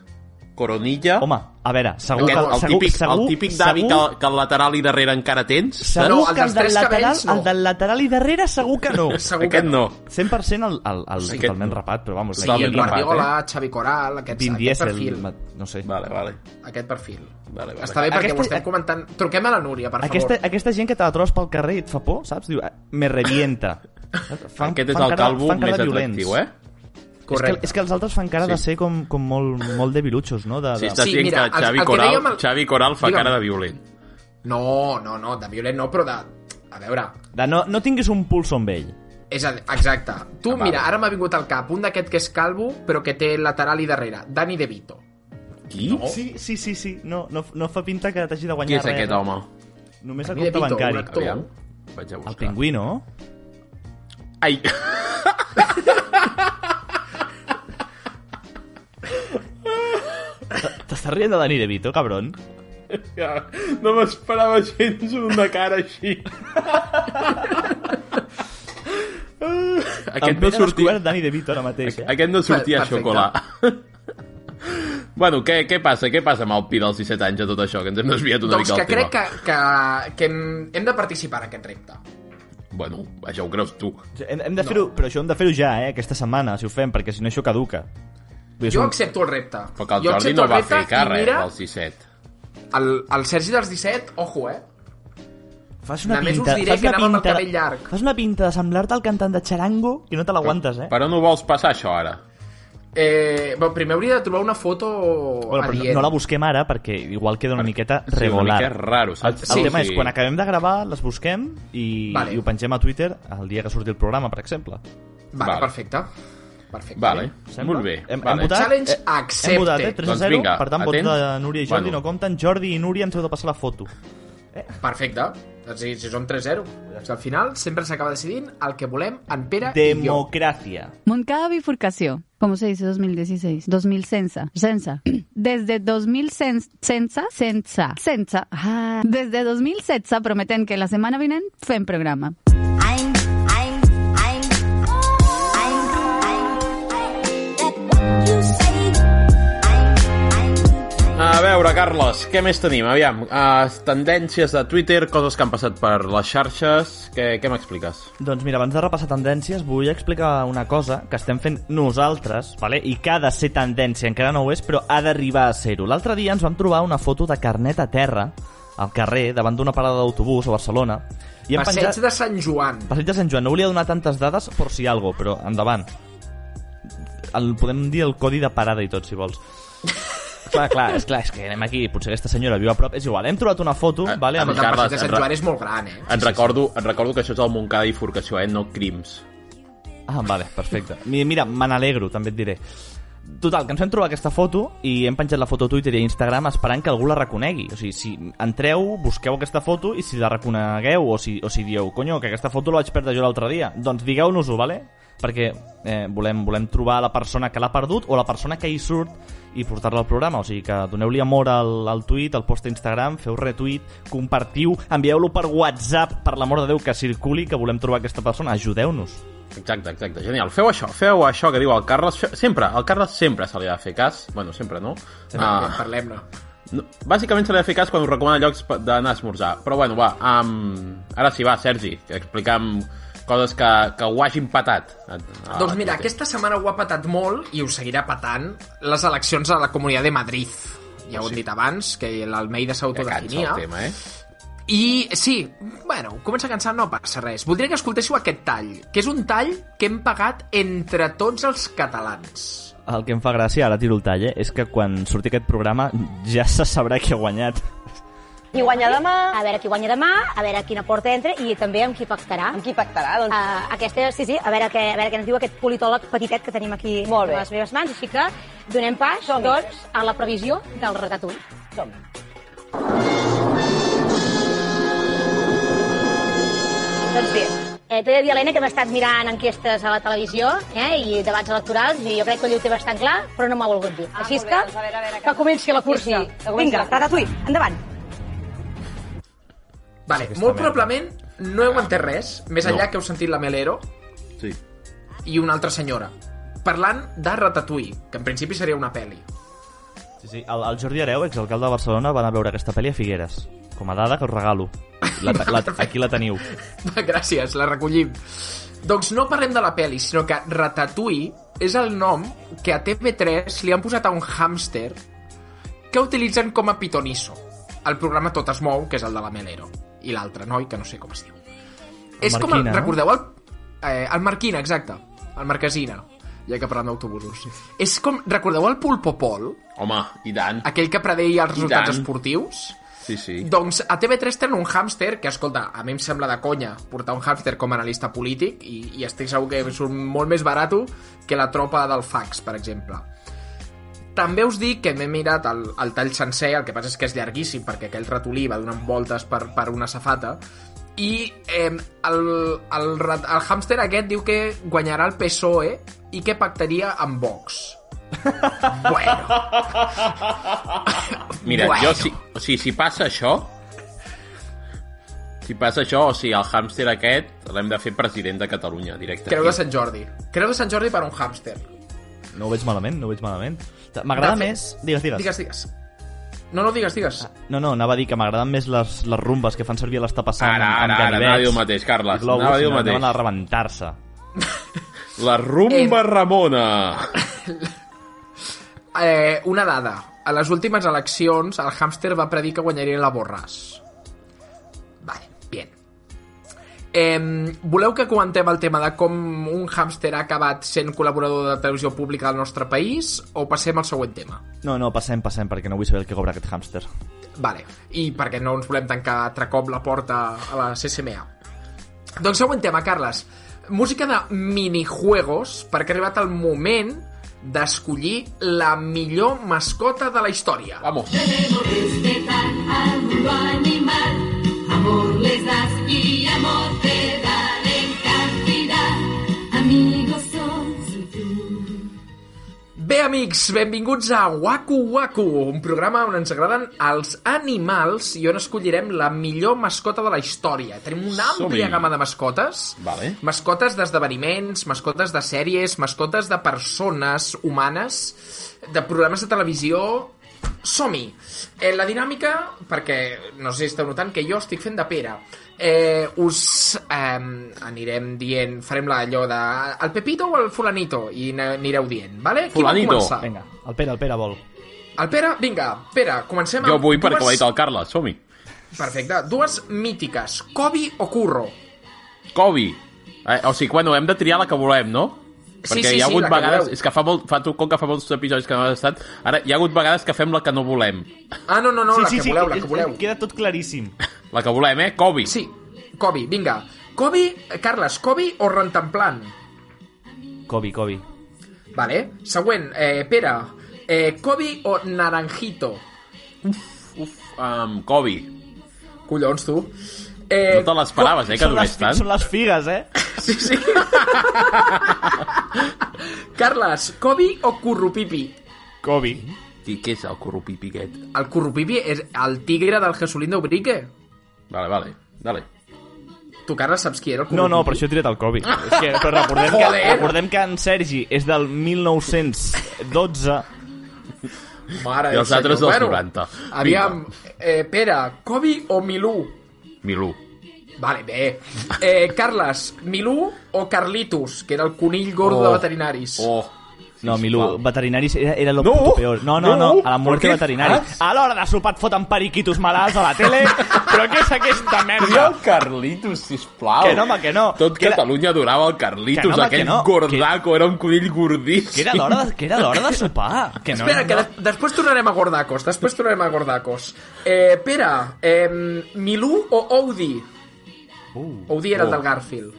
[SPEAKER 2] coronilla...
[SPEAKER 3] Home, a veure, segur
[SPEAKER 2] aquest,
[SPEAKER 3] que...
[SPEAKER 2] el,
[SPEAKER 3] segur,
[SPEAKER 2] típic,
[SPEAKER 3] segur,
[SPEAKER 2] el típic d'avi que,
[SPEAKER 3] segur,
[SPEAKER 2] que al lateral i darrere encara tens. saps?
[SPEAKER 3] Segur
[SPEAKER 4] No, el
[SPEAKER 3] que
[SPEAKER 4] dels
[SPEAKER 3] el del,
[SPEAKER 4] tres
[SPEAKER 3] lateral,
[SPEAKER 4] cabells no.
[SPEAKER 3] el del lateral i darrere segur que no.
[SPEAKER 4] Segur
[SPEAKER 2] Aquest
[SPEAKER 4] que
[SPEAKER 2] no.
[SPEAKER 3] 100% el, el, el
[SPEAKER 2] Aquest
[SPEAKER 3] totalment
[SPEAKER 2] no.
[SPEAKER 3] rapat, però vamos,
[SPEAKER 4] I
[SPEAKER 2] Totalment
[SPEAKER 4] el
[SPEAKER 2] ben rapat,
[SPEAKER 4] Guardiola, Xavi Coral, aquest,
[SPEAKER 3] Vin
[SPEAKER 4] aquest
[SPEAKER 3] Diesel,
[SPEAKER 4] perfil.
[SPEAKER 3] no sé.
[SPEAKER 2] Vale, vale.
[SPEAKER 4] Aquest perfil.
[SPEAKER 2] Vale, vale.
[SPEAKER 4] Està bé perquè
[SPEAKER 3] Aquesta-
[SPEAKER 4] ho estem comentant. Truquem a la Núria, per
[SPEAKER 3] Aquesta,
[SPEAKER 4] favor.
[SPEAKER 3] aquesta gent que te la trobes pel carrer i et fa por, saps? Diu, "Ah, me revienta. Fan,
[SPEAKER 2] Aquest és
[SPEAKER 3] fan
[SPEAKER 2] el
[SPEAKER 3] cara-
[SPEAKER 2] calvo
[SPEAKER 3] fan cara
[SPEAKER 2] més
[SPEAKER 3] de violents.
[SPEAKER 2] atractiu, eh?
[SPEAKER 3] És que, és que els altres fan cara de
[SPEAKER 2] Sí.
[SPEAKER 3] ser com, com molt, molt debilutxos, no? De,
[SPEAKER 2] Sí,
[SPEAKER 3] de...
[SPEAKER 2] estàs
[SPEAKER 4] Sí,
[SPEAKER 2] dient
[SPEAKER 4] mira,
[SPEAKER 2] que
[SPEAKER 4] el- el
[SPEAKER 2] Xavi
[SPEAKER 4] que
[SPEAKER 2] Coral,
[SPEAKER 4] dèiem al-
[SPEAKER 2] Xavi Coral fa
[SPEAKER 4] Digue'm.
[SPEAKER 2] cara de violent.
[SPEAKER 4] No, no, no, de violent no, però de... A veure,
[SPEAKER 3] de no, no tinguis un pulso amb ell.
[SPEAKER 4] És a dir, exacte. Tu,
[SPEAKER 2] Ah, vale.
[SPEAKER 4] mira, ara m'ha vingut al cap un d'aquest que és calvo, però que té lateral i darrere. Dani De Vito.
[SPEAKER 2] Qui? No.
[SPEAKER 3] Sí, sí, sí, sí. No, no, no fa pinta que t'hagi de
[SPEAKER 2] Qui
[SPEAKER 3] guanyar eh?
[SPEAKER 2] és aquest home?
[SPEAKER 3] Només a
[SPEAKER 4] Dani
[SPEAKER 3] compte
[SPEAKER 4] De Vito, un
[SPEAKER 3] bancari.
[SPEAKER 4] actor.
[SPEAKER 2] Aviam. Vaig a buscar.
[SPEAKER 3] El pingüino?
[SPEAKER 2] Ai.
[SPEAKER 3] T'estàs rient de Dani De Vito, cabron?
[SPEAKER 2] Ja, no m'esperava gens una cara així.
[SPEAKER 3] Aquest
[SPEAKER 2] aquest
[SPEAKER 3] em ve
[SPEAKER 2] no
[SPEAKER 3] de
[SPEAKER 2] sortia,
[SPEAKER 3] descobert Dani De Vito ara mateix, eh?
[SPEAKER 2] aquest no sortia a
[SPEAKER 4] Perfecte.
[SPEAKER 2] xocolat. bueno, què, què passa? Què passa amb el pi dels 17 anys a tot això? Que ens hem desviat una
[SPEAKER 4] doncs
[SPEAKER 2] mica
[SPEAKER 4] que
[SPEAKER 2] del
[SPEAKER 4] crec
[SPEAKER 2] tema.
[SPEAKER 4] que, que, que hem, hem de participar en aquest repte.
[SPEAKER 2] Bueno, això ho creus tu.
[SPEAKER 3] Hem, hem de fer-ho, però això hem de fer-ho ja, eh? Aquesta setmana, si ho fem, perquè si no això caduca. Vull dir,
[SPEAKER 4] Jo
[SPEAKER 3] som-
[SPEAKER 4] accepto el repte.
[SPEAKER 2] Però que el
[SPEAKER 4] jo
[SPEAKER 2] Jordi
[SPEAKER 4] accepto
[SPEAKER 2] no va
[SPEAKER 4] repte
[SPEAKER 2] fer
[SPEAKER 4] i
[SPEAKER 2] càrrec
[SPEAKER 4] mira,
[SPEAKER 2] als 17.
[SPEAKER 4] el, el Sergi dels 17, ojo, eh?
[SPEAKER 3] Fas una
[SPEAKER 4] Només us
[SPEAKER 3] pinta,
[SPEAKER 4] diré
[SPEAKER 3] fas
[SPEAKER 4] que
[SPEAKER 3] una
[SPEAKER 4] anava amb el
[SPEAKER 3] pinta,
[SPEAKER 4] cabell llarg.
[SPEAKER 3] fas una pinta de semblar-te al cantant de Charango i no te l'aguantes, eh?
[SPEAKER 2] Però no ho vols passar, això, ara?
[SPEAKER 4] Eh, bueno, primer hauria de trobar una foto
[SPEAKER 3] Bueno, però no,
[SPEAKER 4] adient.
[SPEAKER 3] no la busquem ara perquè igual queda una miqueta
[SPEAKER 2] Sí, una
[SPEAKER 3] regular.
[SPEAKER 2] mica raro,
[SPEAKER 3] El,
[SPEAKER 2] saps?
[SPEAKER 3] el
[SPEAKER 4] Sí,
[SPEAKER 3] tema
[SPEAKER 2] O
[SPEAKER 3] és,
[SPEAKER 2] sigui,
[SPEAKER 3] quan acabem de gravar, les busquem i,
[SPEAKER 4] Vale.
[SPEAKER 3] i ho pengem a Twitter el dia que surti el programa, per exemple.
[SPEAKER 4] Vale,
[SPEAKER 2] Vale.
[SPEAKER 4] perfecte. Perfecte.
[SPEAKER 2] Vale,
[SPEAKER 3] Sembla?
[SPEAKER 2] molt bé.
[SPEAKER 3] Hem,
[SPEAKER 2] vale.
[SPEAKER 3] hem votat,
[SPEAKER 4] Challenge
[SPEAKER 3] eh,
[SPEAKER 4] accepted.
[SPEAKER 3] Hem votat, eh? 3 a
[SPEAKER 2] Doncs
[SPEAKER 3] 0,
[SPEAKER 2] vinga,
[SPEAKER 3] per tant, vots
[SPEAKER 2] atents.
[SPEAKER 3] de Núria i Jordi
[SPEAKER 2] Bueno.
[SPEAKER 3] no compten. Jordi i Núria ens heu de passar la foto.
[SPEAKER 4] Perfecte. Doncs si, si són 3-0. És que al final sempre s'acaba decidint el que volem en Pere i
[SPEAKER 3] Democracia.
[SPEAKER 10] Moncada bifurcación. ¿Cómo se dice 2016? 2000 censa. Censa. Desde 2000 cen- censa, censa, censa. Ah, Desde 2000 censa prometen que la semana vienen fem programa.
[SPEAKER 2] A veure, Carles, què més tenim? Aviam, uh, tendències de Twitter, coses que han passat per les xarxes... Què, què m'expliques?
[SPEAKER 3] Doncs mira, abans de repassar tendències, vull explicar una cosa que estem fent nosaltres, vale? i que ha de ser tendència, encara no ho és, però ha d'arribar a ser-ho. L'altre dia ens vam trobar una foto de carnet a terra, al carrer, davant d'una parada d'autobús a Barcelona, i hem
[SPEAKER 4] Passeig
[SPEAKER 3] penjat...
[SPEAKER 4] de Sant Joan.
[SPEAKER 3] Passeig de Sant Joan, no volia donar tantes dades per si algo, però endavant. El, podem dir el codi de parada i tot, si vols. clar, clar, és clar, és que anem aquí, potser aquesta senyora viu a prop, és igual, hem trobat una foto,
[SPEAKER 2] Ah,
[SPEAKER 3] vale,
[SPEAKER 2] ah,
[SPEAKER 3] amb,
[SPEAKER 4] Escolta, el
[SPEAKER 2] Carles, en
[SPEAKER 4] Passeig de Sant
[SPEAKER 2] re-
[SPEAKER 4] Joan és molt gran, eh?
[SPEAKER 2] Et, recordo, et recordo que això és el Montcada i Forcació, eh? no crims.
[SPEAKER 3] Ah, vale, perfecte. Mi- Mira, me n'alegro, també et diré. Total, que ens vam trobar aquesta foto i hem penjat la foto a Twitter i a Instagram esperant que algú la reconegui. O sigui, si entreu, busqueu aquesta foto i si la reconegueu o si, o si dieu «Conyo, que aquesta foto la vaig perdre jo l'altre dia», doncs digueu-nos-ho, vale? Perquè eh, volem, volem trobar la persona que l'ha perdut o la persona que hi surt i portar-la al programa. O sigui que doneu-li amor al, al tuit, al post a Instagram, feu retuit, compartiu, envieu-lo per WhatsApp, per l'amor de Déu, que circuli, que volem trobar aquesta persona. Ajudeu-nos.
[SPEAKER 2] Exacte, exacte, genial. Feu això, feu això que diu el Carles. Fe- Sempre, al Carles sempre se li ha de fer cas. Bueno, sempre no.
[SPEAKER 4] Ah.
[SPEAKER 2] Ah,
[SPEAKER 4] Parlem-ne.
[SPEAKER 2] no. Bàsicament se li ha de fer cas quan us recomana llocs pa- d'anar a esmorzar. Però bueno, va, um, ara sí, va, Sergi, que explicam coses que, que ho hagin patat. a- a
[SPEAKER 4] doncs
[SPEAKER 2] Twitter.
[SPEAKER 4] mira, aquesta setmana ho ha patat molt i ho seguirà patant les eleccions a la Comunitat de Madrid. Ja ho hem dit abans, que l'Almeida
[SPEAKER 2] Ah, Que cansa
[SPEAKER 4] s'autodefinia.
[SPEAKER 2] el tema, eh?
[SPEAKER 4] I sí, bueno, comença a cansar, no passa res. Voldria que escoltéssiu aquest tall, que és un tall que hem pagat entre tots els catalans.
[SPEAKER 3] El que em fa gràcia, ara tiro el tall, eh, és que quan surti aquest programa ja se sabrà qui ha guanyat.
[SPEAKER 5] Qui guanya demà? A veure qui guanya demà, a veure quina porta entra i també amb qui pactarà. Amb qui pactarà, doncs. Uh, aquesta, sí, sí, a veure, què, a veure què ens diu aquest politòleg petitet que tenim aquí Molt bé. a les meves mans. Així que donem pas, doncs, a la previsió del ratatull. Doncs bé, eh, t'he de dir, Helena, que hem estat mirant enquestes a la televisió eh, i debats electorals i jo crec que ell ho té bastant clar, però no m'ha volgut dir. Així és que, que comenci la cursa. Vinga, ratatouille, endavant.
[SPEAKER 4] Vale, molt probablement no
[SPEAKER 2] Ah,
[SPEAKER 4] heu entès res, més enllà que heu sentit la Melero
[SPEAKER 2] Sí.
[SPEAKER 4] i una altra senyora, parlant de Ratatouille, que en principi seria una pel·li.
[SPEAKER 3] Sí, sí, el, el Jordi Areu, exalcalde de Barcelona, va anar a veure aquesta pel·li a Figueres. Com a dada que us regalo. La, ta- la, aquí la teniu.
[SPEAKER 4] Va, Gràcies, la recollim. Doncs no parlem de la pel·li, sinó que Ratatouille és el nom que a TV3 li han posat a un hàmster que utilitzen com a pitonisso. El programa Tot es mou, que és el de la Melero. I l'altre noi, que no sé com es diu. és com el,
[SPEAKER 3] Marquina, no?
[SPEAKER 4] recordeu, el, eh, el Marquina, exacte. El Marquesina. Ja que parlem d'autobusos. És com, recordeu el Pulpopol?
[SPEAKER 2] Home, i tant.
[SPEAKER 4] Aquell que predeia els resultats
[SPEAKER 2] tant.
[SPEAKER 4] esportius?
[SPEAKER 2] Sí, sí.
[SPEAKER 4] Doncs a TV3 tenen un hàmster que, escolta, a mi em sembla de conya portar un hàmster com a analista polític i, i estic segur que surt molt més barat que la tropa del fax, per exemple. També us dic que m'he mirat el, el tall sencer, el que passa és que és llarguíssim perquè aquell ratolí va donant voltes per, per una safata i eh, el, el, rat- el hàmster aquest diu que guanyarà el PSOE E i que pactaria amb Vox. bueno,
[SPEAKER 2] Mira,
[SPEAKER 4] Bueno.
[SPEAKER 2] jo, si, o sigui, si passa això... Si passa això, o sigui, el hàmster aquest l'hem de fer president de Catalunya, directe.
[SPEAKER 4] creu de Sant Jordi. Creu de Sant Jordi per un hàmster.
[SPEAKER 3] No ho veig malament, no ho veig malament. M'agrada
[SPEAKER 4] De fet-
[SPEAKER 3] més... Digues, digues.
[SPEAKER 4] Digues, digues. No, no, digues, digues.
[SPEAKER 3] No, no, anava a dir que m'agraden més les, les rumbes que fan servir a les tapassant
[SPEAKER 2] Ara, ara, ara, anava a dir el mateix, Carles.
[SPEAKER 3] Globus,
[SPEAKER 2] Anava a dir el
[SPEAKER 3] no,
[SPEAKER 2] mateix.
[SPEAKER 3] anaven a rebentar-se.
[SPEAKER 2] La rumba Ramona!
[SPEAKER 4] Eh, una dada. A les últimes eleccions, el hàmster va predir que guanyaria la Borràs. Vale, bien. Eh, voleu que comentem el tema de com un hàmster ha acabat sent col·laborador de televisió pública del nostre país o passem al següent tema?
[SPEAKER 3] No, no, passem, passem, perquè no vull saber el que cobra aquest hàmster.
[SPEAKER 4] Vale, i perquè no ens volem tancar altre cop la porta a la CCMA. Doncs següent tema, Carles. Música de minijuegos, perquè ha arribat el moment d'escollir la millor mascota de la història.
[SPEAKER 2] Vamos.
[SPEAKER 5] Debemos respetar al mundo animal. Amor les das y amor te dan en cantidad. Amigos sos y tú.
[SPEAKER 4] Bé, amics, benvinguts a Waku Waku, un programa on ens agraden els animals i on escollirem la millor mascota de la història. Tenim una àmplia
[SPEAKER 2] Som-hi.
[SPEAKER 4] gamma de mascotes.
[SPEAKER 2] Vale.
[SPEAKER 4] Mascotes d'esdeveniments, mascotes de sèries, mascotes de persones humanes, de programes de televisió... Som-hi! Eh, la dinàmica, perquè no sé si esteu notant que jo estic fent de pera, eh, us eh, anirem dient, farem la- allò de el Pepito o el Fulanito, i na- anireu dient, vale? Qui vol
[SPEAKER 2] Fulanito.
[SPEAKER 4] començar?
[SPEAKER 3] Vinga, el Pere, el Pere vol.
[SPEAKER 4] El Pere, vinga, Pere, comencem
[SPEAKER 2] Jo vull
[SPEAKER 4] dues-
[SPEAKER 2] perquè ho ha dit el Carles, som-hi.
[SPEAKER 4] Perfecte, dues mítiques, Kobe o Curro.
[SPEAKER 2] Kobe. Eh, o sigui, bueno, hem de triar la que volem, no?
[SPEAKER 4] Sí,
[SPEAKER 2] Perquè
[SPEAKER 4] sí,
[SPEAKER 2] hi ha
[SPEAKER 4] sí,
[SPEAKER 2] hagut
[SPEAKER 4] la que
[SPEAKER 2] vegades...
[SPEAKER 4] voleu.
[SPEAKER 2] És que fa molt... Fa, tu, com que fa molts episodis que no has estat, ara hi ha hagut vegades que fem la que no volem.
[SPEAKER 4] Ah, no, no, no, la que voleu, la que voleu.
[SPEAKER 3] Queda tot claríssim.
[SPEAKER 2] La que volem, eh? Kobe.
[SPEAKER 4] Sí, Kobe, vinga. Kobe, eh, Carles, Kobe o Rentamplan?
[SPEAKER 3] Kobe, Kobe.
[SPEAKER 4] Vale, següent, eh, Pere, eh, Kobe o Naranjito?
[SPEAKER 2] Uf, um, Kobe.
[SPEAKER 4] Collons, tu. Eh,
[SPEAKER 2] No te l'esperaves, eh, que
[SPEAKER 3] són, les,
[SPEAKER 2] durés tant.
[SPEAKER 3] són les figues, eh?
[SPEAKER 4] Sí, sí. Carles, Kobe o Currupipi?
[SPEAKER 3] Kobe.
[SPEAKER 2] I què és el corrupipi aquest?
[SPEAKER 4] El Currupipi és el tigre del Jesulín de Ubrique.
[SPEAKER 2] Vale, vale. Dale.
[SPEAKER 4] Tu, Carles, saps qui era el
[SPEAKER 3] No,
[SPEAKER 4] Currupipi?
[SPEAKER 3] no, per això he tirat el Kobe. És que, però recordem que,
[SPEAKER 4] Joder.
[SPEAKER 3] recordem que en Sergi és del 1912.
[SPEAKER 4] Mare
[SPEAKER 2] I els
[SPEAKER 4] del
[SPEAKER 2] altres
[SPEAKER 4] senyor.
[SPEAKER 2] dels 90.
[SPEAKER 4] Aviam, eh, Pere, Kobe o Milú?
[SPEAKER 2] Milú.
[SPEAKER 4] Vale, bé. Eh, Carles, Milú o Carlitus, que era el conill gordo
[SPEAKER 2] Oh.
[SPEAKER 4] de veterinaris?
[SPEAKER 2] Oh.
[SPEAKER 3] No, Milú, veterinaris era, era lo
[SPEAKER 2] No,
[SPEAKER 3] puto peor. No, no, no,
[SPEAKER 2] no,
[SPEAKER 3] a la
[SPEAKER 2] ¿por
[SPEAKER 3] muerte
[SPEAKER 2] qué? ¿Ah?
[SPEAKER 3] veterinaris. A l'hora de sopar et foten periquitos malalts a la tele. Però què és aquesta merda?
[SPEAKER 2] el Carlitos, sisplau.
[SPEAKER 3] Que no, home, que no.
[SPEAKER 2] Tot
[SPEAKER 3] Que era-
[SPEAKER 2] Catalunya adorava el Carlitos,
[SPEAKER 3] Que no, home,
[SPEAKER 2] aquell
[SPEAKER 3] que no.
[SPEAKER 2] gordaco, era un conill gordíssim.
[SPEAKER 3] Que era l'hora de, que era l'hora de sopar. Que no,
[SPEAKER 4] Espera,
[SPEAKER 3] no,
[SPEAKER 4] que de després tornarem a Gordacos, després tornarem a Gordacos. Eh, Pere, eh, Milú o Oudi? Uh, Oudi era el
[SPEAKER 2] oh.
[SPEAKER 4] del Garfield.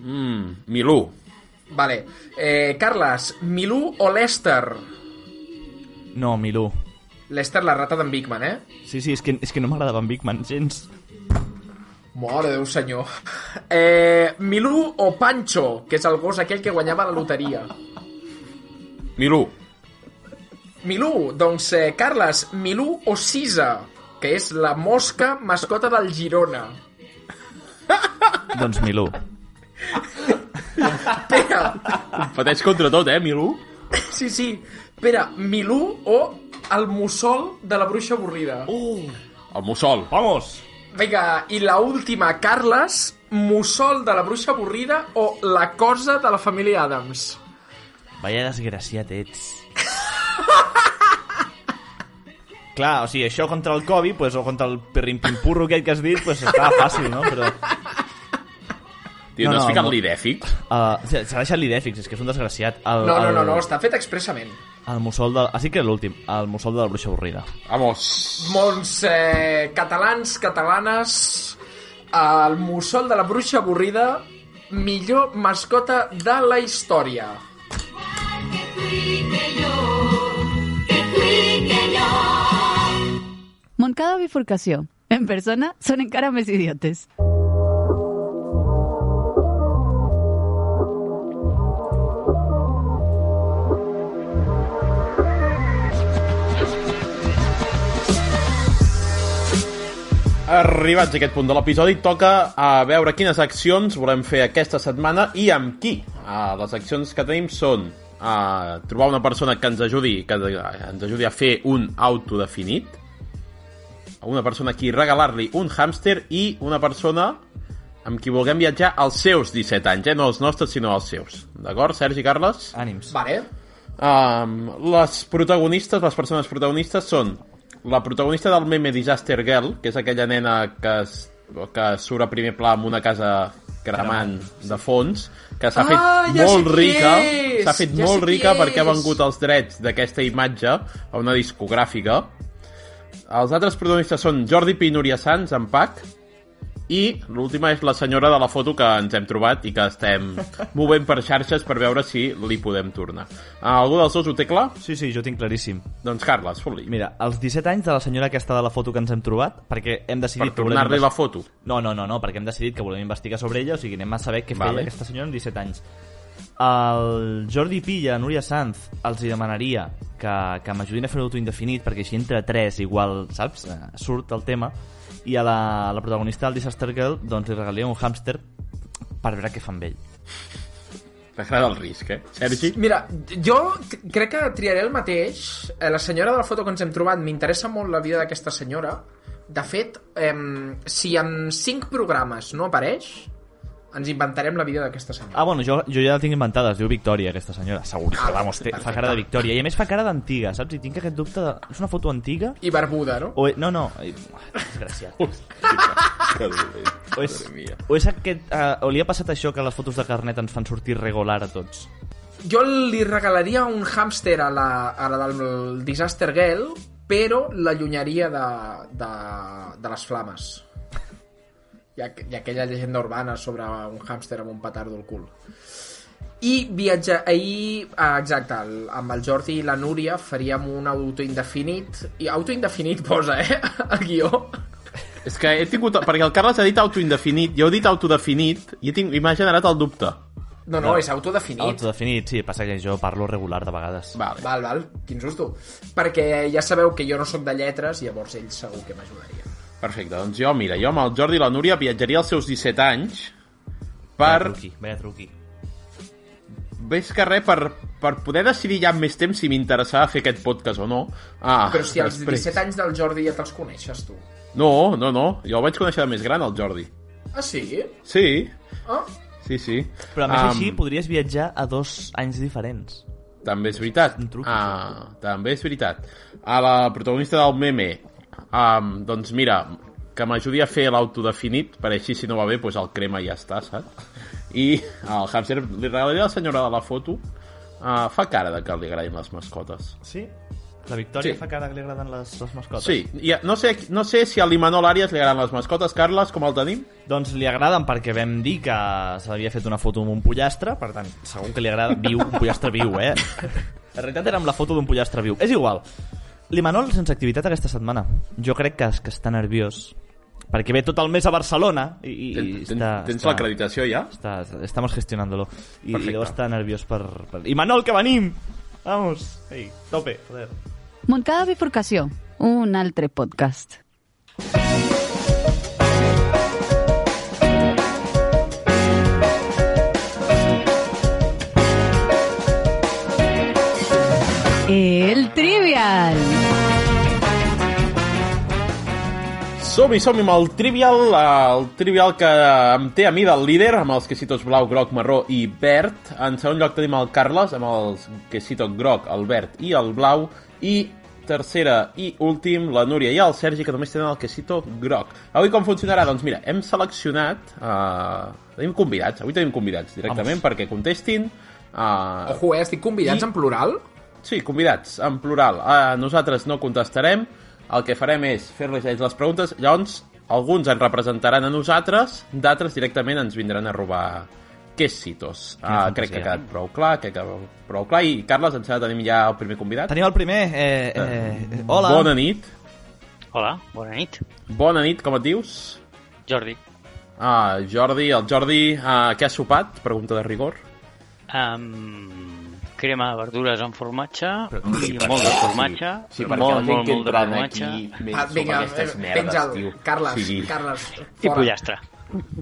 [SPEAKER 2] Mm, Milú.
[SPEAKER 4] Vale. Eh, Carles, Milú o Lester?
[SPEAKER 3] No, Milú.
[SPEAKER 4] Lester, la rata d'en Bigman, eh?
[SPEAKER 3] Sí, sí, és que, és que no m'agradava en Big Man gens.
[SPEAKER 4] Mare de Déu, senyor. Eh, Milú o Pancho, que és el gos aquell que guanyava la loteria.
[SPEAKER 2] Milú.
[SPEAKER 4] Milú, doncs, eh, Carles, Milú o Sisa, que és la mosca mascota del Girona.
[SPEAKER 3] Doncs Milú.
[SPEAKER 4] Pere,
[SPEAKER 2] Pateix contra tot, eh, Milú?
[SPEAKER 4] sí, sí, Pere, Milú o el mussol de la bruixa avorrida. Uh.
[SPEAKER 2] El mussol.
[SPEAKER 3] Vamos!
[SPEAKER 4] Vinga, i la última, Carles, mussol de la bruixa avorrida o la cosa de la família Adams.
[SPEAKER 3] Vaya desgraciat ets. Clar, o sigui, això contra el Kobe, pues, o contra el perrimpimpurro aquest que has dit, pues, estava fàcil, no? Però...
[SPEAKER 2] Tio, no,
[SPEAKER 3] No,
[SPEAKER 2] no has
[SPEAKER 3] no,
[SPEAKER 2] ficat
[SPEAKER 3] no.
[SPEAKER 2] l'Idèfix?
[SPEAKER 3] Uh, S'ha deixat l'Idèfix, és que és un desgraciat. El,
[SPEAKER 4] No, no,
[SPEAKER 3] el-
[SPEAKER 4] no, no, està fet expressament.
[SPEAKER 3] El mussol del... Ah, sí que és l'últim. El mussol de la bruixa avorrida.
[SPEAKER 2] Vamos.
[SPEAKER 4] Molts eh, catalans, catalanes, el mussol de la bruixa avorrida, millor mascota de la història.
[SPEAKER 10] Moncada bifurcació. En persona són encara més idiotes.
[SPEAKER 2] Arribats a aquest punt de l'episodi, toca a veure quines accions volem fer aquesta setmana i amb qui. Uh, les accions que tenim són uh, trobar una persona que ens ajudi que de- ens ajudi a fer un auto definit, a una persona a qui regalar-li un hàmster i una persona amb qui vulguem viatjar als seus 17 anys, eh? no els nostres, sinó als seus. D'acord, Sergi, Carles?
[SPEAKER 3] Ànims.
[SPEAKER 4] Vale.
[SPEAKER 2] Um, les protagonistes, les persones protagonistes són la protagonista del meme Disaster Girl, que és aquella nena que, es, que surt a primer pla amb una casa cremant de fons, que s'ha
[SPEAKER 4] Ah,
[SPEAKER 2] fet
[SPEAKER 4] ja sé
[SPEAKER 2] molt
[SPEAKER 4] qui
[SPEAKER 2] rica,
[SPEAKER 4] és!
[SPEAKER 2] s'ha fet
[SPEAKER 4] Ja
[SPEAKER 2] molt
[SPEAKER 4] sé qui
[SPEAKER 2] rica perquè ha
[SPEAKER 4] és!
[SPEAKER 2] vengut els drets d'aquesta imatge a una discogràfica. Els altres protagonistes són Jordi Pi i Núria Sans, en Pac, i l'última és la senyora de la foto que ens hem trobat i que estem movent per xarxes per veure si li podem tornar. Ah, Algú dels dos ho té clar?
[SPEAKER 3] Sí, sí, jo tinc claríssim.
[SPEAKER 2] Doncs Carles, fot-li.
[SPEAKER 3] Mira, els 17 anys de la senyora aquesta de la foto que ens hem trobat, perquè hem decidit...
[SPEAKER 2] Per
[SPEAKER 3] que volem
[SPEAKER 2] tornar-li
[SPEAKER 3] investi-
[SPEAKER 2] la foto.
[SPEAKER 3] No, no, no, no, perquè hem decidit que volem investigar sobre ella, o sigui, anem a saber què feia
[SPEAKER 2] Vale.
[SPEAKER 3] aquesta senyora amb 17 anys. El Jordi Pilla, Núria Sanz, els hi demanaria que, que m'ajudin a fer un auto indefinit, perquè així entre 3 igual, saps, Eh, surt el tema, i a la, la protagonista del Disaster Girl, doncs li regalia un hàmster per veure què fa amb ell.
[SPEAKER 2] T'agrada el risc, eh? Sergi?
[SPEAKER 4] Mira, jo c- crec que triaré el mateix. Eh, La senyora de la foto que ens hem trobat, m'interessa molt la vida d'aquesta senyora. De fet, em, si en cinc programes no apareix, ens inventarem la vida d'aquesta senyora.
[SPEAKER 3] Ah, bueno, jo, jo ja la tinc inventada, es diu Victòria, aquesta senyora. Segur que, vamos, té, fa cara de Victòria. I a més fa cara d'antiga, saps? I tinc aquest dubte de... És una foto antiga?
[SPEAKER 4] I barbuda, no?
[SPEAKER 3] O... No, no, ai, desgraciat.
[SPEAKER 2] Que dolent.
[SPEAKER 3] O és,
[SPEAKER 2] Madre mía.
[SPEAKER 3] o és aquest... Uh, o li ha passat això que les fotos de carnet ens fan sortir regular a tots?
[SPEAKER 4] Jo li regalaria un hàmster a la, a la del Disaster Girl, però l'allunyaria de, de, de les flames. I, aqu- i aquella llegenda urbana sobre un hàmster amb un petardo al cul. I viatja... Ahir, ah, exacte, el, amb el Jordi i la Núria faríem un auto indefinit. I auto indefinit posa, eh? El guió.
[SPEAKER 2] És que he tingut... Perquè el Carles ha dit autoindefinit, jo he dit autodefinit i, he tinc... i m'ha generat el dubte.
[SPEAKER 4] No, no, és autodefinit.
[SPEAKER 3] Autodefinit, sí, passa que jo parlo regular de vegades.
[SPEAKER 2] Vale.
[SPEAKER 4] Val, val, quin susto. Perquè ja sabeu que jo no sóc de lletres, llavors ell segur que m'ajudaria.
[SPEAKER 2] Perfecte, doncs jo, mira, jo amb el Jordi i la Núria viatjaria als seus 17 anys per...
[SPEAKER 3] Vaya truqui, vaya truqui.
[SPEAKER 2] Ves que res, per, per poder decidir ja amb més temps si m'interessava fer aquest podcast o no. Ah,
[SPEAKER 4] Però si als
[SPEAKER 2] després.
[SPEAKER 4] 17 anys del Jordi ja te'ls coneixes, tu.
[SPEAKER 2] No, no, no. Jo el vaig conèixer de més gran, el Jordi.
[SPEAKER 4] Ah, sí?
[SPEAKER 2] Sí,
[SPEAKER 4] Ah,
[SPEAKER 2] sí, sí.
[SPEAKER 3] Però a més
[SPEAKER 2] Am,
[SPEAKER 3] així podries viatjar a dos anys diferents.
[SPEAKER 2] També és veritat.
[SPEAKER 3] Un truc,
[SPEAKER 2] Ah, també és veritat. A la protagonista del meme, um, doncs mira, que m'ajudi a fer l'autodefinit, per així si no va bé, doncs el crema i ja està, saps? I al hamster li regalaré a la senyora de la foto. Uh, fa cara de que li agradin les mascotes.
[SPEAKER 3] Sí? La Victòria
[SPEAKER 2] Sí.
[SPEAKER 3] fa cara que li agraden les, les mascotes.
[SPEAKER 2] Sí, i a- no sé, no sé si a l'Imanol Arias li agraden les mascotes, Carles, com el tenim?
[SPEAKER 3] Doncs li agraden perquè vam dir que s'havia fet una foto amb un pollastre, per tant, segur que li agrada viu, un pollastre viu, eh? En realitat era amb la foto d'un pollastre viu. És igual. L'Imanol sense activitat aquesta setmana. Jo crec que, que està nerviós perquè ve tot el mes a Barcelona i, i
[SPEAKER 2] Ten, ten,
[SPEAKER 3] està,
[SPEAKER 2] tens
[SPEAKER 3] està,
[SPEAKER 2] l'acreditació ja?
[SPEAKER 3] Està, estamos gestionándolo. I,
[SPEAKER 2] Perfecte.
[SPEAKER 3] i deu estar nerviós per... per... Imanol, que venim! Vamos! Ei, tope, joder.
[SPEAKER 10] Moncada bifurcació. Un altre podcast. El Trivial.
[SPEAKER 2] Som-hi, som-hi amb el Trivial, eh, el Trivial que em té a mi del líder, amb els quesitos blau, groc, marró i verd. En segon lloc tenim el Carles, amb els quesito groc, el verd i el blau. I tercera i últim, la Núria i el Sergi, que només tenen el quesito groc. Avui com funcionarà? Doncs mira, hem seleccionat eh, Tenim convidats, avui tenim convidats directament Vamos. perquè contestin a,
[SPEAKER 4] Ojo, eh? Estic convidats
[SPEAKER 2] I-
[SPEAKER 4] en plural?
[SPEAKER 2] Sí, convidats, en plural. Uh, nosaltres no contestarem, el que farem és fer-les a ells les preguntes, llavors alguns ens representaran a nosaltres, d'altres directament ens vindran a robar quesitos. Uh, crec que ha quedat prou clar, crec que prou clar, i Carles, em sembla que tenim ja el primer convidat.
[SPEAKER 3] Tenim el primer. Eh, eh, hola.
[SPEAKER 2] Bona nit,
[SPEAKER 11] Hola, bona nit.
[SPEAKER 2] bona nit, com et dius?
[SPEAKER 11] Jordi.
[SPEAKER 2] Ah, Jordi, el Jordi, uh, què ha sopat? Pregunta de rigor.
[SPEAKER 11] Um, crema de verdures amb formatge i
[SPEAKER 2] Sí, per
[SPEAKER 11] molt de
[SPEAKER 2] què?
[SPEAKER 11] formatge.
[SPEAKER 2] Sí, sí, perquè la
[SPEAKER 11] molt, molt,
[SPEAKER 2] gent que
[SPEAKER 11] molt de
[SPEAKER 2] entran
[SPEAKER 11] formatge.
[SPEAKER 2] aquí
[SPEAKER 4] Ah, vinga, penja'l. Carles,
[SPEAKER 2] Sí.
[SPEAKER 4] Carles.
[SPEAKER 11] I
[SPEAKER 4] fora.
[SPEAKER 11] pollastre.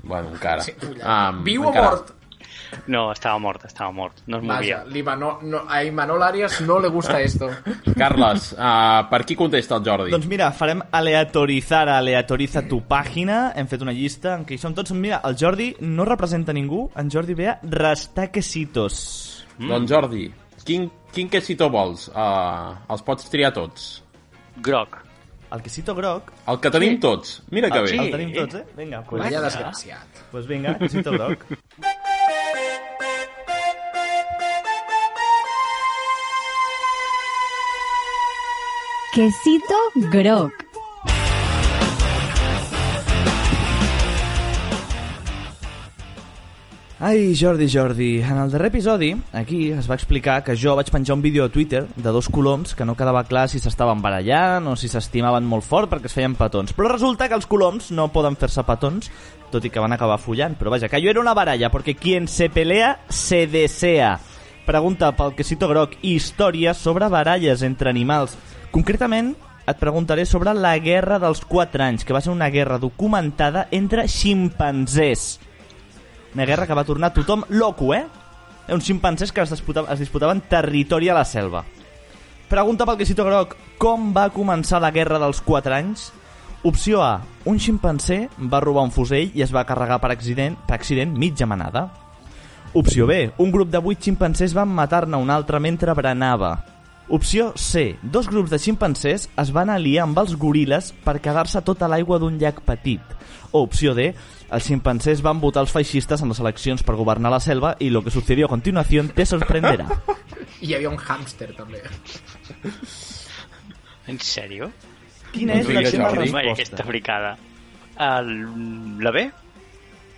[SPEAKER 2] Bueno, encara. Sí,
[SPEAKER 4] Um, Viu o mort?
[SPEAKER 11] No, estava mort, estava mort. No es
[SPEAKER 4] Vaja,
[SPEAKER 11] movia.
[SPEAKER 4] l'Imanol- no, a Imanol Arias no le gusta esto.
[SPEAKER 2] Carles, uh, per qui contesta el Jordi?
[SPEAKER 3] Doncs mira, farem aleatoritzar, aleatoritza tu pàgina. Hem fet una llista en què hi som tots. Mira, el Jordi no representa ningú. En Jordi ve a restar quesitos.
[SPEAKER 2] Mm. Doncs Jordi, quin, quin quesito vols? Uh, els pots triar tots.
[SPEAKER 11] Groc.
[SPEAKER 3] El quesito groc.
[SPEAKER 2] El que tenim sí. tots. Mira que
[SPEAKER 3] el,
[SPEAKER 2] bé.
[SPEAKER 3] El tenim tots, eh? Vinga, pues,
[SPEAKER 4] Vaya desgraciat.
[SPEAKER 3] pues vinga, quesito groc.
[SPEAKER 10] Quesito Grog.
[SPEAKER 3] Ai, Jordi, Jordi, en el darrer episodi, aquí es va explicar que jo vaig penjar un vídeo a Twitter de dos coloms que no quedava clar si s'estaven barallant o si s'estimaven molt fort perquè es feien petons. Però resulta que els coloms no poden fer-se petons, tot i que van acabar follant. Però vaja, que jo era una baralla, perquè quien se pelea, se desea. Pregunta pel quesito groc i històries sobre baralles entre animals. Concretament, et preguntaré sobre la guerra dels 4 anys, que va ser una guerra documentada entre ximpanzés. Una guerra que va tornar tothom loco, eh? Uns ximpanzés que es disputaven, es disputaven territori a la selva. Pregunta pel quesito groc, com va començar la guerra dels 4 anys? Opció A, un ximpanzé va robar un fusell i es va carregar per accident, per accident mitja manada. Opció B, un grup de 8 ximpanzés van matar-ne un altre mentre berenava. Opció C, dos grups de ximpanzés es van aliar amb els goril·les per quedar-se tota l'aigua d'un llac petit. O opció D, els ximpanzés van votar els feixistes en les eleccions per governar la selva i lo que sucedió a continuació te sorprenderà.
[SPEAKER 4] I hi havia un hàmster, també.
[SPEAKER 11] En sèrio?
[SPEAKER 3] Quina és la
[SPEAKER 2] Digues,
[SPEAKER 3] seva
[SPEAKER 11] Vaja,
[SPEAKER 2] Jordi.
[SPEAKER 3] resposta?
[SPEAKER 11] aquesta fricada. El, la B?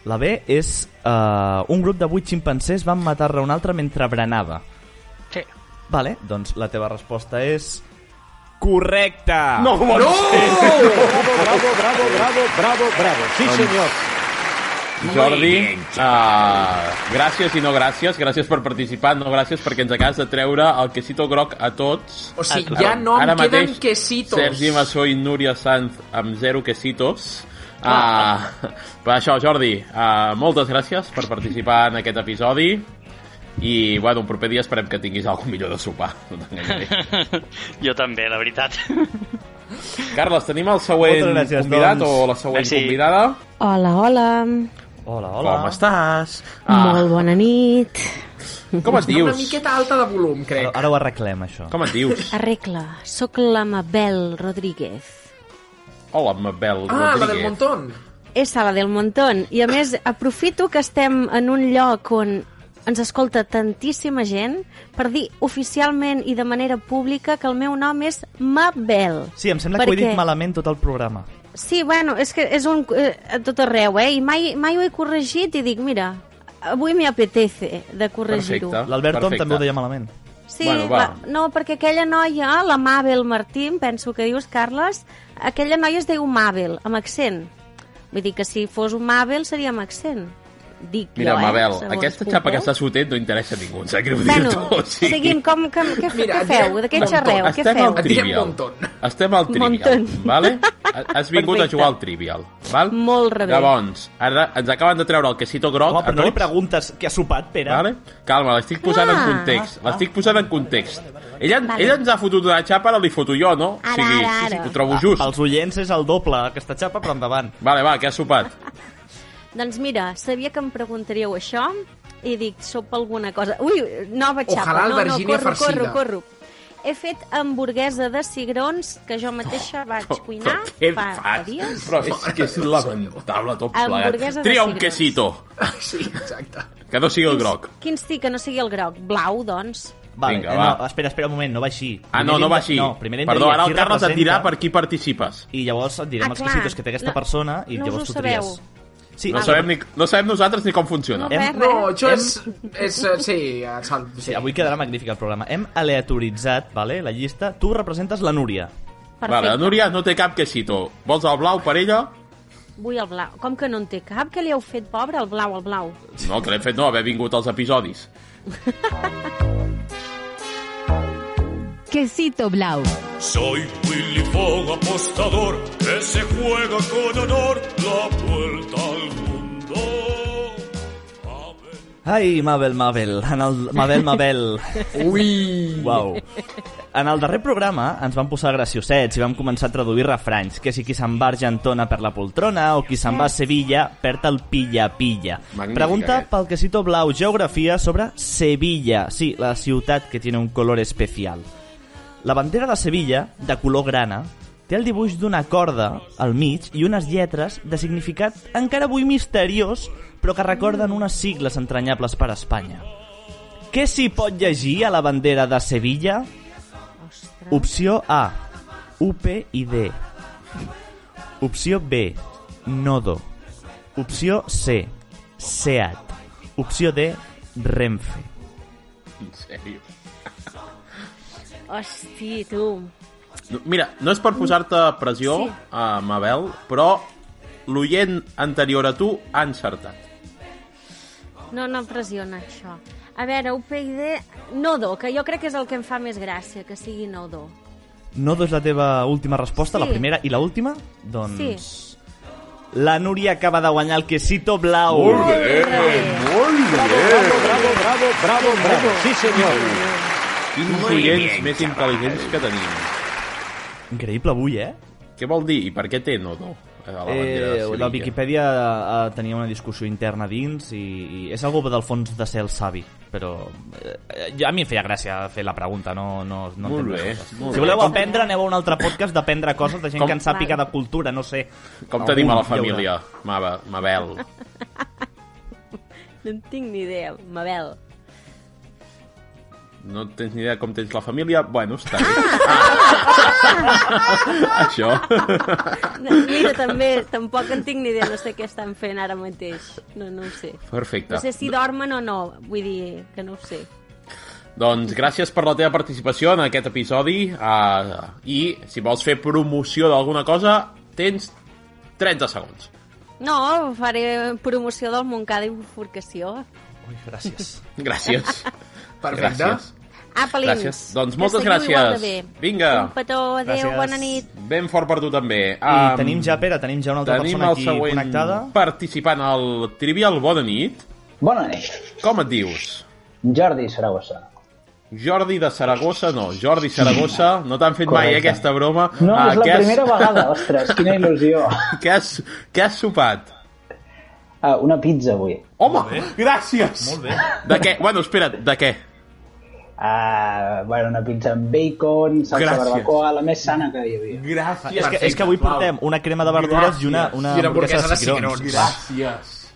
[SPEAKER 3] La B és uh, un grup de 8 ximpanzés van matar-ne un altre mentre berenava.
[SPEAKER 11] Sí.
[SPEAKER 3] Vale, doncs la teva resposta és... Correcta!
[SPEAKER 2] No, no!
[SPEAKER 9] Bravo, bravo, bravo, bravo, bravo. Sí,
[SPEAKER 3] Doncs-
[SPEAKER 9] senyor.
[SPEAKER 2] Jordi, uh, gràcies i no gràcies. Gràcies per participar, no gràcies perquè ens acabes de treure el quesito groc a tots.
[SPEAKER 4] O sigui,
[SPEAKER 2] Ah, Ara-
[SPEAKER 4] ja no em
[SPEAKER 2] ara
[SPEAKER 4] queden
[SPEAKER 2] mateix,
[SPEAKER 4] quesitos.
[SPEAKER 2] Sergi Massó i Núria Sanz amb zero quesitos. Ah, per això, Jordi, ah, moltes gràcies per participar en aquest episodi i, bueno, un proper dia esperem que tinguis alguna millor de sopar. No t'enganyaré.
[SPEAKER 11] jo també, la veritat.
[SPEAKER 2] Carles, tenim el següent
[SPEAKER 3] Moltes gràcies,
[SPEAKER 2] convidat
[SPEAKER 3] doncs.
[SPEAKER 2] o la següent
[SPEAKER 11] Merci.
[SPEAKER 2] convidada.
[SPEAKER 12] Hola, hola.
[SPEAKER 3] Hola, hola.
[SPEAKER 2] Hola. Com estàs? Ah,
[SPEAKER 12] Molt bona nit.
[SPEAKER 2] Com et
[SPEAKER 4] Una
[SPEAKER 2] dius?
[SPEAKER 4] miqueta alta de volum,
[SPEAKER 3] Ara,
[SPEAKER 4] crec.
[SPEAKER 3] ara ho arreglem, això.
[SPEAKER 2] Com et dius?
[SPEAKER 12] Arregla, sóc la Mabel Rodríguez.
[SPEAKER 2] Hola, Mabel
[SPEAKER 4] Ah, la del
[SPEAKER 2] Rodríguez.
[SPEAKER 4] montón.
[SPEAKER 12] És la del Montón. I a més, aprofito que estem en un lloc on ens escolta tantíssima gent per dir oficialment i de manera pública que el meu nom és Mabel.
[SPEAKER 3] Sí, em sembla que ho he
[SPEAKER 12] Perquè-
[SPEAKER 3] dit malament tot el programa.
[SPEAKER 12] Sí, bueno, és que és un... eh, a tot arreu, eh? I mai, mai ho he corregit i dic, mira, avui me apetece de corregir-ho.
[SPEAKER 2] Perfecte.
[SPEAKER 3] L'Alberto
[SPEAKER 2] Perfecte.
[SPEAKER 3] també ho deia malament.
[SPEAKER 12] Sí,
[SPEAKER 2] Bueno,
[SPEAKER 12] bueno,
[SPEAKER 2] va.
[SPEAKER 12] la, no, perquè aquella noia, la Mabel Martín, penso que dius, Carles, aquella noia es diu Mabel, amb accent. Vull dir que si fos un Mabel seria amb accent. Dic
[SPEAKER 2] Mira,
[SPEAKER 12] jo,
[SPEAKER 2] Mabel,
[SPEAKER 12] eh? segons
[SPEAKER 2] aquesta
[SPEAKER 12] Google.
[SPEAKER 2] xapa que està sotent no interessa a ningú, ens sap greu
[SPEAKER 12] Bueno,
[SPEAKER 2] dir-t'ho. o sigui.
[SPEAKER 12] seguim, com, com, què,
[SPEAKER 4] Mira, doncs,
[SPEAKER 12] Mira, què feu? De què
[SPEAKER 4] Montón.
[SPEAKER 12] xerreu? Què
[SPEAKER 2] Estem
[SPEAKER 12] feu?
[SPEAKER 2] al
[SPEAKER 4] Et direm
[SPEAKER 2] Trivial.
[SPEAKER 4] montón.
[SPEAKER 2] Estem al Trivial,
[SPEAKER 12] Montón.
[SPEAKER 2] vale? Has vingut a
[SPEAKER 12] Perfecte.
[SPEAKER 2] jugar al Trivial, val?
[SPEAKER 12] Molt rebé.
[SPEAKER 2] Llavors, ara ens acaben de treure el quesito groc
[SPEAKER 3] Home,
[SPEAKER 2] a
[SPEAKER 3] però no li eh?
[SPEAKER 2] tots,
[SPEAKER 3] preguntes què ha sopat, Pere.
[SPEAKER 2] Doncs- vale? Calma, l'estic posant en
[SPEAKER 12] Clar.
[SPEAKER 2] context, l'estic posant en context. Ella,
[SPEAKER 12] Vale.
[SPEAKER 2] ella ens ha fotut una xapa, ara li foto jo, no?
[SPEAKER 12] Ara,
[SPEAKER 2] o sigui,
[SPEAKER 12] ara, ara.
[SPEAKER 2] ho trobo
[SPEAKER 3] Ah,
[SPEAKER 2] just.
[SPEAKER 3] Pels oients és el doble, aquesta xapa, però endavant.
[SPEAKER 2] Vale, va, què has sopat?
[SPEAKER 12] Doncs mira, sabia que em preguntaríeu això i dic, sopa alguna cosa. Ui, nova xapa.
[SPEAKER 4] Ojalà
[SPEAKER 12] no, no,
[SPEAKER 4] albergínia
[SPEAKER 12] corro,
[SPEAKER 4] farcida.
[SPEAKER 12] corro, corro. he fet hamburguesa de cigrons que jo mateixa vaig cuinar
[SPEAKER 2] Què
[SPEAKER 12] fa, fa
[SPEAKER 2] fas?
[SPEAKER 12] dies.
[SPEAKER 2] Però és que és lamentable tot plegat.
[SPEAKER 12] Hamburguesa de
[SPEAKER 2] Tria un
[SPEAKER 12] cigrons.
[SPEAKER 2] quesito.
[SPEAKER 12] doncs.
[SPEAKER 4] Sí, exacte.
[SPEAKER 2] Que no sigui el groc.
[SPEAKER 12] Quin sí que no sigui el groc? Blau, doncs.
[SPEAKER 3] Vale,
[SPEAKER 2] Vinga,
[SPEAKER 3] eh,
[SPEAKER 2] va.
[SPEAKER 3] no, espera, espera un moment, no va així.
[SPEAKER 2] Ah, no,
[SPEAKER 3] Primer
[SPEAKER 2] no
[SPEAKER 3] hem
[SPEAKER 2] va
[SPEAKER 3] de-
[SPEAKER 2] així.
[SPEAKER 3] No, primer hem de
[SPEAKER 2] Perdó,
[SPEAKER 3] dir
[SPEAKER 2] ara
[SPEAKER 3] qui
[SPEAKER 2] el Carles et
[SPEAKER 3] representa.
[SPEAKER 2] dirà per qui participes.
[SPEAKER 3] I llavors et direm
[SPEAKER 12] Ah,
[SPEAKER 3] els
[SPEAKER 12] clar.
[SPEAKER 3] quesitos que té aquesta
[SPEAKER 12] No-
[SPEAKER 3] persona i
[SPEAKER 12] no us
[SPEAKER 3] llavors
[SPEAKER 12] ho
[SPEAKER 3] tu tries.
[SPEAKER 12] sabeu.
[SPEAKER 3] Sí,
[SPEAKER 2] no,
[SPEAKER 3] ah,
[SPEAKER 2] sabem ni, no sabem nosaltres ni com funciona.
[SPEAKER 3] Hem-
[SPEAKER 4] No, això és... és eh, sí, eh, sal, sí.
[SPEAKER 3] Avui quedarà magnífic el programa. Hem aleatoritzat vale, la llista. Tu representes la Núria.
[SPEAKER 2] Vale, la Núria no té cap quesito. Vols el blau per ella?
[SPEAKER 12] Vull el blau. Com que no en té cap? Que li heu fet, pobre, el blau, el blau?
[SPEAKER 2] No, que l'hem fet no, haver vingut als episodis.
[SPEAKER 10] Quesito Blau.
[SPEAKER 13] Soy Willy Fogg, apostador, que se juega con honor la vuelta al mundo.
[SPEAKER 3] Ai, Mabel, Mabel. En el... Mabel, Mabel.
[SPEAKER 4] Ui!
[SPEAKER 3] Uau. En el darrer programa ens vam posar graciosets i vam començar a traduir refranys, que si qui se'n va a Argentona per la poltrona o qui se'n va a Sevilla perd el pilla-pilla.
[SPEAKER 2] Magnífic,
[SPEAKER 3] Pregunta
[SPEAKER 2] aquest.
[SPEAKER 3] pel quesito blau, geografia sobre Sevilla. Sí, la ciutat que tiene un color especial. La bandera de Sevilla, de color grana, té el dibuix d'una corda al mig i unes lletres de significat encara avui misteriós, però que recorden unes sigles entranyables per a Espanya. Què s'hi pot llegir a la bandera de Sevilla? Opció A. UP i D. Opció B. Nodo. Opció C. Seat. Opció D. Renfe.
[SPEAKER 2] En sèrio.
[SPEAKER 12] Hosti, tu.
[SPEAKER 2] No, Mira, no és per posar-te pressió,
[SPEAKER 12] Sí.
[SPEAKER 2] a Mabel, però l'oient anterior a tu ha encertat.
[SPEAKER 12] No, no pressiona això. A veure, UPyD... Nodo, que jo crec que és el que em fa més gràcia, que sigui Nodo.
[SPEAKER 3] Nodo és la teva última resposta,
[SPEAKER 12] Sí.
[SPEAKER 3] la primera i la última? Doncs...
[SPEAKER 12] Sí.
[SPEAKER 3] La Núria acaba de guanyar el quesito blau. Molt
[SPEAKER 2] molt
[SPEAKER 9] Bravo, bravo, bravo, bravo, bravo. Sí, senyor.
[SPEAKER 2] Quins
[SPEAKER 9] Muy
[SPEAKER 2] oients
[SPEAKER 9] bien,
[SPEAKER 2] més intel·ligents que tenim.
[SPEAKER 3] Increïble avui, eh?
[SPEAKER 2] Què vol dir? I per què té Nodo? A la bandera de
[SPEAKER 3] Eh, la
[SPEAKER 2] Sevilla.
[SPEAKER 3] Viquipèdia eh, tenia una discussió interna dins i, i és algo del fons de ser el savi, però eh, eh, a mi em feia gràcia fer la pregunta, no, no, no
[SPEAKER 2] Molt
[SPEAKER 3] entenc
[SPEAKER 2] bé,
[SPEAKER 3] les coses.
[SPEAKER 2] molt
[SPEAKER 3] Si
[SPEAKER 2] bé.
[SPEAKER 3] voleu
[SPEAKER 2] Com-
[SPEAKER 3] aprendre, aneu a un altre podcast d'aprendre coses de gent
[SPEAKER 2] Com-
[SPEAKER 3] que en sàpiga
[SPEAKER 12] Vale.
[SPEAKER 3] de cultura, no sé.
[SPEAKER 2] Com tenim a la
[SPEAKER 3] Algun hi
[SPEAKER 2] família,
[SPEAKER 3] haurà.
[SPEAKER 2] Maba, Mabel?
[SPEAKER 12] No en tinc ni idea, Mabel.
[SPEAKER 2] No tens ni idea com tens la família? Bueno, està bé. Ah! Això.
[SPEAKER 12] Mira, també, tampoc en tinc ni idea, no sé què estan fent ara mateix. No, no ho sé.
[SPEAKER 2] Perfecte.
[SPEAKER 12] No sé si dormen o no, vull dir que no ho sé.
[SPEAKER 2] Doncs gràcies per la teva participació en aquest episodi uh, i si vols fer promoció d'alguna cosa tens 30 segons.
[SPEAKER 12] No, faré promoció del Montcada i Bifurcació.
[SPEAKER 3] Ui, gràcies.
[SPEAKER 2] Gràcies.
[SPEAKER 4] Perfecte.
[SPEAKER 2] Gràcies.
[SPEAKER 12] Apa, links.
[SPEAKER 2] Gràcies. Doncs
[SPEAKER 12] Ah, Que
[SPEAKER 2] moltes
[SPEAKER 12] seguiu igual de
[SPEAKER 2] gràcies.
[SPEAKER 12] bé.
[SPEAKER 2] Vinga.
[SPEAKER 12] Un petó, adeu,
[SPEAKER 3] Gràcies.
[SPEAKER 12] bona nit.
[SPEAKER 2] Ben fort per tu també.
[SPEAKER 3] I tenim ja, Pere, tenim ja una altra
[SPEAKER 2] Um, tenim
[SPEAKER 3] persona
[SPEAKER 2] el
[SPEAKER 3] aquí
[SPEAKER 2] següent
[SPEAKER 3] connectada.
[SPEAKER 2] participant al Trivial. Bona nit.
[SPEAKER 14] Bona nit.
[SPEAKER 2] Com et dius?
[SPEAKER 14] Jordi Saragossa.
[SPEAKER 2] Jordi de Saragossa, no. Jordi Saragossa, no t'han fet mai
[SPEAKER 14] Correcte.
[SPEAKER 2] eh, aquesta broma.
[SPEAKER 14] No,
[SPEAKER 2] Ah,
[SPEAKER 14] és la
[SPEAKER 2] què has-
[SPEAKER 14] primera vegada, ostres, quina il·lusió.
[SPEAKER 2] Què has, què has sopat?
[SPEAKER 14] Ah, una pizza avui.
[SPEAKER 2] Home, gràcies! Molt
[SPEAKER 3] bé.
[SPEAKER 2] De què? Bueno, espera't, de què?
[SPEAKER 14] Ah, bueno, una pizza amb bacon, salsa
[SPEAKER 2] Gràcies.
[SPEAKER 14] barbacoa, la més sana que hi havia.
[SPEAKER 2] Gràcies.
[SPEAKER 3] És que, és que avui portem una crema de verdures i una, una hamburguesa de cigrons.
[SPEAKER 2] Gràcies.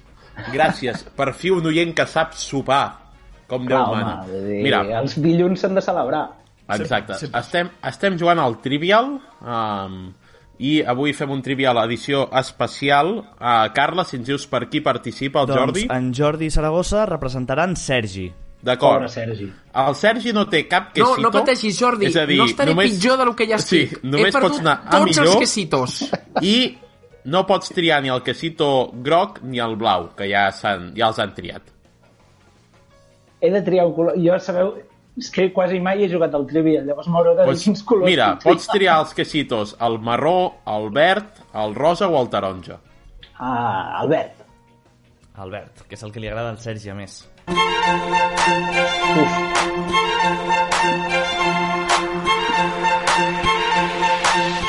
[SPEAKER 2] Gràcies. Per fi un oient que sap sopar. Com Déu
[SPEAKER 14] Clar,
[SPEAKER 2] mana.
[SPEAKER 14] home, vull dir,
[SPEAKER 2] Mira,
[SPEAKER 14] Eh, els dilluns s'han de celebrar.
[SPEAKER 2] exacte. Estem, estem jugant al Trivial um, i avui fem un Trivial edició especial. Uh, Carla, si ens dius per qui participa el
[SPEAKER 3] Doncs
[SPEAKER 2] Jordi.
[SPEAKER 3] en Jordi Saragossa representarà en Sergi.
[SPEAKER 2] D'acord. Pobre
[SPEAKER 14] Sergi.
[SPEAKER 2] El Sergi no té cap
[SPEAKER 4] No,
[SPEAKER 2] quesito.
[SPEAKER 4] no pateixis, Jordi.
[SPEAKER 2] És a dir,
[SPEAKER 4] No estaré
[SPEAKER 2] només...
[SPEAKER 4] pitjor del que ja estic.
[SPEAKER 2] Sí, només
[SPEAKER 4] He perdut
[SPEAKER 2] pots anar a
[SPEAKER 4] tots els
[SPEAKER 2] millor
[SPEAKER 4] quesitos.
[SPEAKER 2] I no pots triar ni el quesito groc ni el blau, que ja, s'han- ja els han triat.
[SPEAKER 14] He de triar el color. Jo, sabeu, és que quasi mai he jugat al Trivial, llavors m'haureu de dir
[SPEAKER 2] Pots-
[SPEAKER 14] quins colors...
[SPEAKER 2] mira,
[SPEAKER 14] puc
[SPEAKER 2] pots triar els quesitos, el marró, el verd, el rosa o el taronja.
[SPEAKER 14] Ah, Albert.
[SPEAKER 3] Albert, que és el que li agrada al Sergi a més.
[SPEAKER 14] Uf.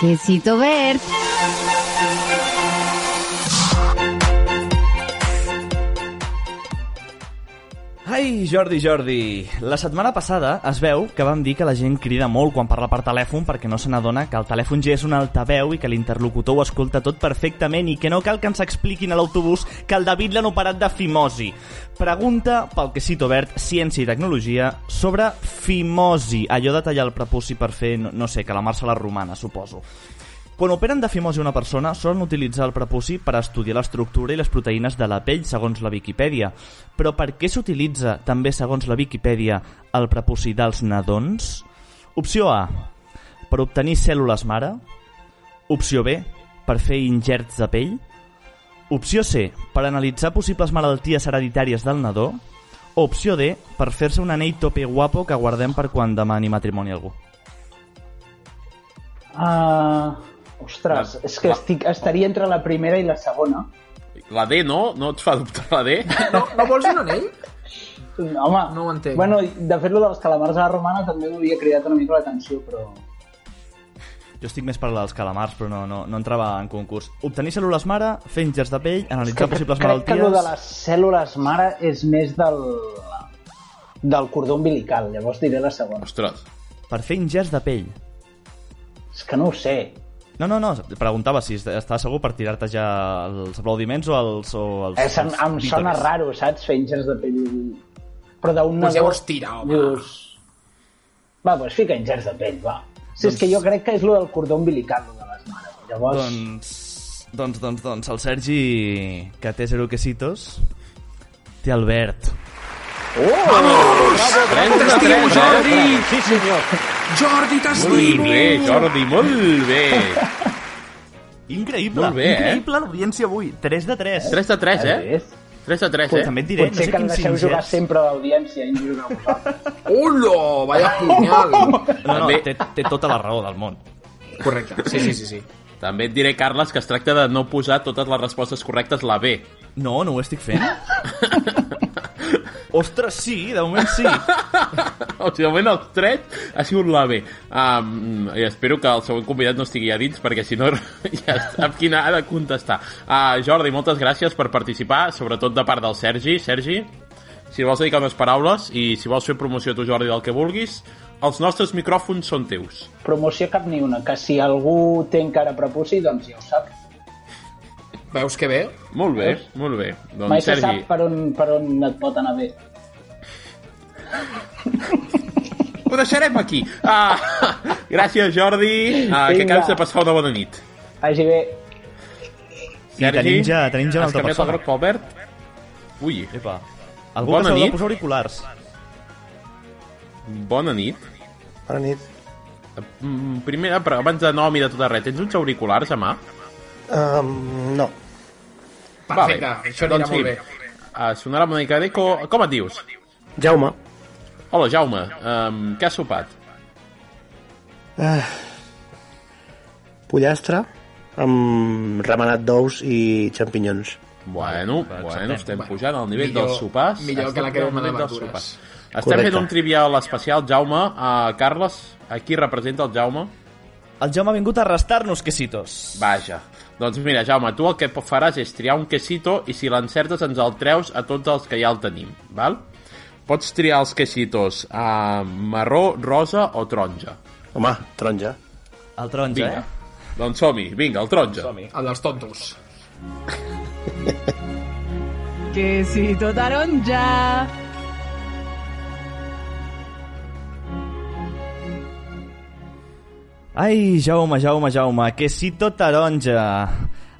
[SPEAKER 10] Quesito Verde.
[SPEAKER 3] Ai, Ai, Jordi, Jordi. La setmana passada es veu que vam dir que la gent crida molt quan parla per telèfon perquè no se n'adona que el telèfon ja és un altaveu i que l'interlocutor ho escolta tot perfectament i que no cal que ens expliquin a l'autobús que el David l'han operat de fimosi. Pregunta pel que cito obert Ciència i Tecnologia sobre fimosi, allò de tallar el prepuci per fer, no, no sé, que la marxa la romana, suposo. Quan operen de fimosi una persona, solen utilitzar el prepuci per estudiar l'estructura i les proteïnes de la pell, segons la Viquipèdia. Però per què s'utilitza, també segons la Viquipèdia, el prepuci dels nadons? Opció A. Per obtenir cèl·lules mare. Opció B. Per fer ingerts de pell. Opció C. Per analitzar possibles malalties hereditàries del nadó. Opció D. Per fer-se un anell tope guapo que guardem per quan demani matrimoni a algú.
[SPEAKER 14] Ah, ostres, és que estic, estaria entre la primera i la segona.
[SPEAKER 2] La D, no? No et fa dubtar la D?
[SPEAKER 14] No, no vols un anell? Home, no ho entenc. Bueno, de fet, lo dels calamars a la romana també m'havia cridat una mica l'atenció, però...
[SPEAKER 3] Jo estic més per la dels calamars, però no, no, no entrava en concurs. Obtenir cèl·lules mare, fer ingers de pell, analitzar possibles
[SPEAKER 14] Crec que
[SPEAKER 3] malalties...
[SPEAKER 14] lo de les cèl·lules mare és més del, del cordó umbilical, llavors diré la segona.
[SPEAKER 2] Ostres.
[SPEAKER 3] Per fer ingers de pell.
[SPEAKER 14] És que no ho sé.
[SPEAKER 3] No, no, no, preguntava si est- estava segur per tirar-te ja els aplaudiments o els... O els,
[SPEAKER 14] És, em, Eh, em
[SPEAKER 3] els
[SPEAKER 14] sona
[SPEAKER 3] vítores.
[SPEAKER 14] raro, saps? Fer ingers de pell... Però d'un
[SPEAKER 3] Doncs
[SPEAKER 14] nadó
[SPEAKER 3] llavors tira, home.
[SPEAKER 14] Dius... Va, doncs fica ingers de pell, va. Si és
[SPEAKER 3] Doncs-
[SPEAKER 14] que jo crec que és lo del cordó umbilical, lo de les mares. Llavors...
[SPEAKER 3] Doncs, doncs, doncs, doncs, el Sergi, que té zero quesitos, té el verd.
[SPEAKER 14] Oh! Vamos!
[SPEAKER 4] T'estimo, Jordi!
[SPEAKER 2] Sí, senyor.
[SPEAKER 4] Jordi,
[SPEAKER 2] eh? Molt
[SPEAKER 4] t'estimo!
[SPEAKER 2] bé, Jordi, molt bé.
[SPEAKER 3] Increïble,
[SPEAKER 2] Molt bé, eh?
[SPEAKER 3] increïble l'audiència avui. 3 de 3.
[SPEAKER 2] 3 de 3, eh? 3 de 3, eh?
[SPEAKER 3] També et diré,
[SPEAKER 14] Potser
[SPEAKER 3] no sé
[SPEAKER 14] que
[SPEAKER 3] quins
[SPEAKER 14] deixeu jugar
[SPEAKER 3] ingents.
[SPEAKER 14] sempre a l'audiència i jugar a vosaltres.
[SPEAKER 4] Hola, vaya punyal!
[SPEAKER 3] No, no, té, té tota la raó del món.
[SPEAKER 4] Correcte, sí, sí, sí. sí.
[SPEAKER 2] També et diré, Carles, que es tracta de no posar totes les respostes correctes la B.
[SPEAKER 3] No, no ho estic fent. Ostres, sí, de moment sí.
[SPEAKER 2] o sigui, de moment els tres ha sigut la B. Um, I espero que el següent convidat no estigui a dins, perquè si no ja sap quina ha de contestar. Uh, Jordi, moltes gràcies per participar, sobretot de part del Sergi. Sergi, si vols dedicar unes paraules i si vols fer promoció tu, Jordi, del que vulguis, els nostres micròfons són teus.
[SPEAKER 14] Promoció cap ni una, que si algú té encara prepuci, doncs ja ho sap.
[SPEAKER 4] Veus que bé?
[SPEAKER 2] Molt bé, molt bé. Doncs,
[SPEAKER 14] Mai se
[SPEAKER 2] Sergi,
[SPEAKER 14] sap per on, per on et pot anar bé.
[SPEAKER 2] ho deixarem aquí. Uh, gràcies, Jordi, uh, que
[SPEAKER 14] Vinga.
[SPEAKER 2] acabes de passar una bona nit.
[SPEAKER 14] Vagi bé.
[SPEAKER 3] I tenim ja, tenim ja una
[SPEAKER 2] has canviat el
[SPEAKER 3] altra persona.
[SPEAKER 2] groc pel verd? Ui.
[SPEAKER 3] Epa. Algú que s'haurà de posar auriculars.
[SPEAKER 2] Bona nit.
[SPEAKER 15] Bona nit.
[SPEAKER 2] Mm, Primera, però abans de nom i de tot arreu, tens uns auriculars a mà?
[SPEAKER 15] Um, no.
[SPEAKER 4] Perfecte, això anirà
[SPEAKER 2] doncs
[SPEAKER 4] molt bé.
[SPEAKER 2] Uh, sonarà una mica d'eco. Com et dius?
[SPEAKER 15] Jaume.
[SPEAKER 2] Hola, Jaume. Um, què has sopat?
[SPEAKER 15] Uh, pollastre amb remenat d'ous i xampinyons.
[SPEAKER 2] Bueno, bueno, estem pujant al nivell
[SPEAKER 15] Millor-
[SPEAKER 2] dels sopars.
[SPEAKER 15] millor que
[SPEAKER 2] Estem
[SPEAKER 15] la crema
[SPEAKER 2] al nivell
[SPEAKER 15] de
[SPEAKER 2] dels
[SPEAKER 15] verdures.
[SPEAKER 2] sopars. Estem
[SPEAKER 15] Correcte.
[SPEAKER 2] fent un trivial especial, Jaume. Uh, Carles, a qui representa el Jaume?
[SPEAKER 3] El Jaume ha vingut a arrestar-nos, quesitos.
[SPEAKER 2] Vaja. Doncs mira, Jaume, tu el que faràs és triar un quesito i si l'encertes ens el treus a tots els que ja el tenim, val? Pots triar els quesitos a marró, rosa o taronja.
[SPEAKER 15] Home, taronja.
[SPEAKER 3] El taronja,
[SPEAKER 2] vinga. eh? Doncs som-hi, vinga, el taronja.
[SPEAKER 4] El dels tontos.
[SPEAKER 16] Quesito taronja.
[SPEAKER 3] Ai, Jaume, Jaume, Jaume, quesito taronja.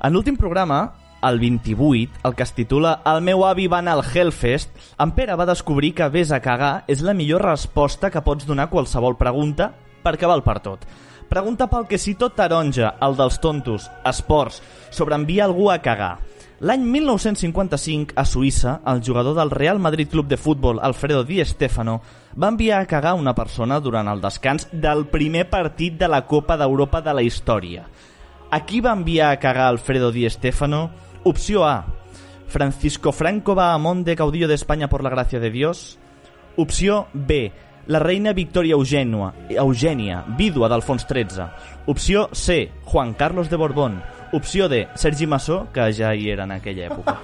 [SPEAKER 3] En l'últim programa, el 28, el que es titula El meu avi va anar al Hellfest, en Pere va descobrir que vés a cagar és la millor resposta que pots donar a qualsevol pregunta perquè val per tot. Pregunta pel quesito taronja, el dels tontos, esports, sobre enviar algú a cagar. L'any 1955, a Suïssa, el jugador del Real Madrid Club de Futbol, Alfredo Di Stefano, va enviar a cagar una persona durant el descans del primer partit de la Copa d'Europa de la història. A qui va enviar a cagar Alfredo Di Stefano? Opció A. Francisco Franco va a Monte Caudillo de España por la gracia de Dios. Opció B. La reina Victoria Eugènua, Eugènia, vídua d'Alfons XIII. Opció C. Juan Carlos de Borbón. Opció D. Sergi Massó, que ja hi era en aquella època.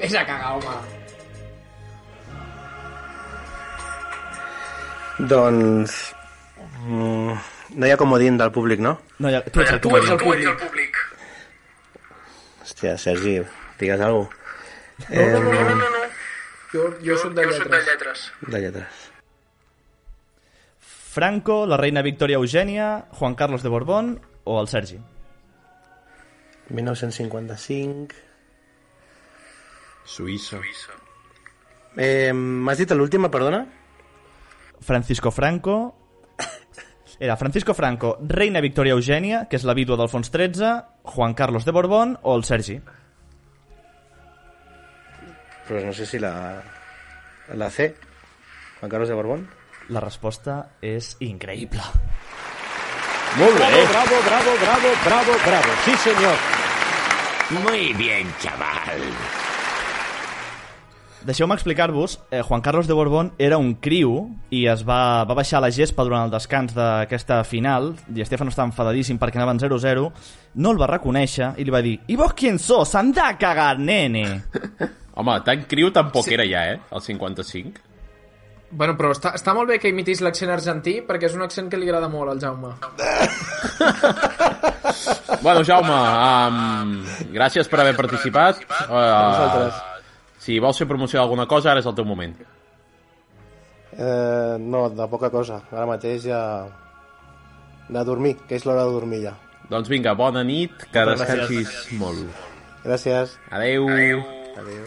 [SPEAKER 4] Vés a cagar, home.
[SPEAKER 15] Doncs... Mm, no hi ha comodín del públic, no?
[SPEAKER 3] No, ja,
[SPEAKER 15] tu ets el
[SPEAKER 4] Tu ets el públic.
[SPEAKER 15] Hòstia, Sergi, digues alguna cosa.
[SPEAKER 4] No, no, no, no, no, no. Jo, jo soc de lletres.
[SPEAKER 15] De lletres.
[SPEAKER 3] Franco, la reina Victoria Eugènia, Juan Carlos de Borbón o el Sergi?
[SPEAKER 15] 1955...
[SPEAKER 2] Suïssa.
[SPEAKER 15] Eh, M'has dit l'última, perdona?
[SPEAKER 3] Francisco Franco... Era Francisco Franco, reina Victoria Eugènia, que és la vídua d'Alfons XIII, Juan Carlos de Borbón o el Sergi?
[SPEAKER 15] Però no sé si la... La C. Juan Carlos de Borbón.
[SPEAKER 3] La resposta és increïble.
[SPEAKER 2] Molt
[SPEAKER 9] bé. Bravo, bravo, bravo, bravo, bravo.
[SPEAKER 2] Sí, senyor.
[SPEAKER 17] Muy bien, chaval.
[SPEAKER 3] Deixeu-me explicar-vos, eh, Juan Carlos de Borbón era un criu i es va, va baixar a la gespa durant el descans d'aquesta final i Estefano estava enfadadíssim perquè anaven 0-0 no el va reconèixer i li va dir I vos quién sos? Anda a cagar, nene!
[SPEAKER 2] Home, tan criu tampoc sí. era ja, eh? El 55.
[SPEAKER 4] Bueno, però està, està molt bé que imitis l'accent argentí perquè és un accent que li agrada molt al Jaume.
[SPEAKER 2] Bueno, Jaume, um, gràcies per haver participat. Uh,
[SPEAKER 15] vosaltres.
[SPEAKER 2] si vols fer promoció d'alguna cosa, ara és el teu moment.
[SPEAKER 15] Eh, no, de poca cosa. Ara mateix ja... De dormir, que és l'hora de dormir ja.
[SPEAKER 2] Doncs vinga, bona nit, que
[SPEAKER 15] Moltes
[SPEAKER 2] descansis
[SPEAKER 15] gràcies.
[SPEAKER 2] molt.
[SPEAKER 15] Gràcies.
[SPEAKER 2] Adeu. Adeu.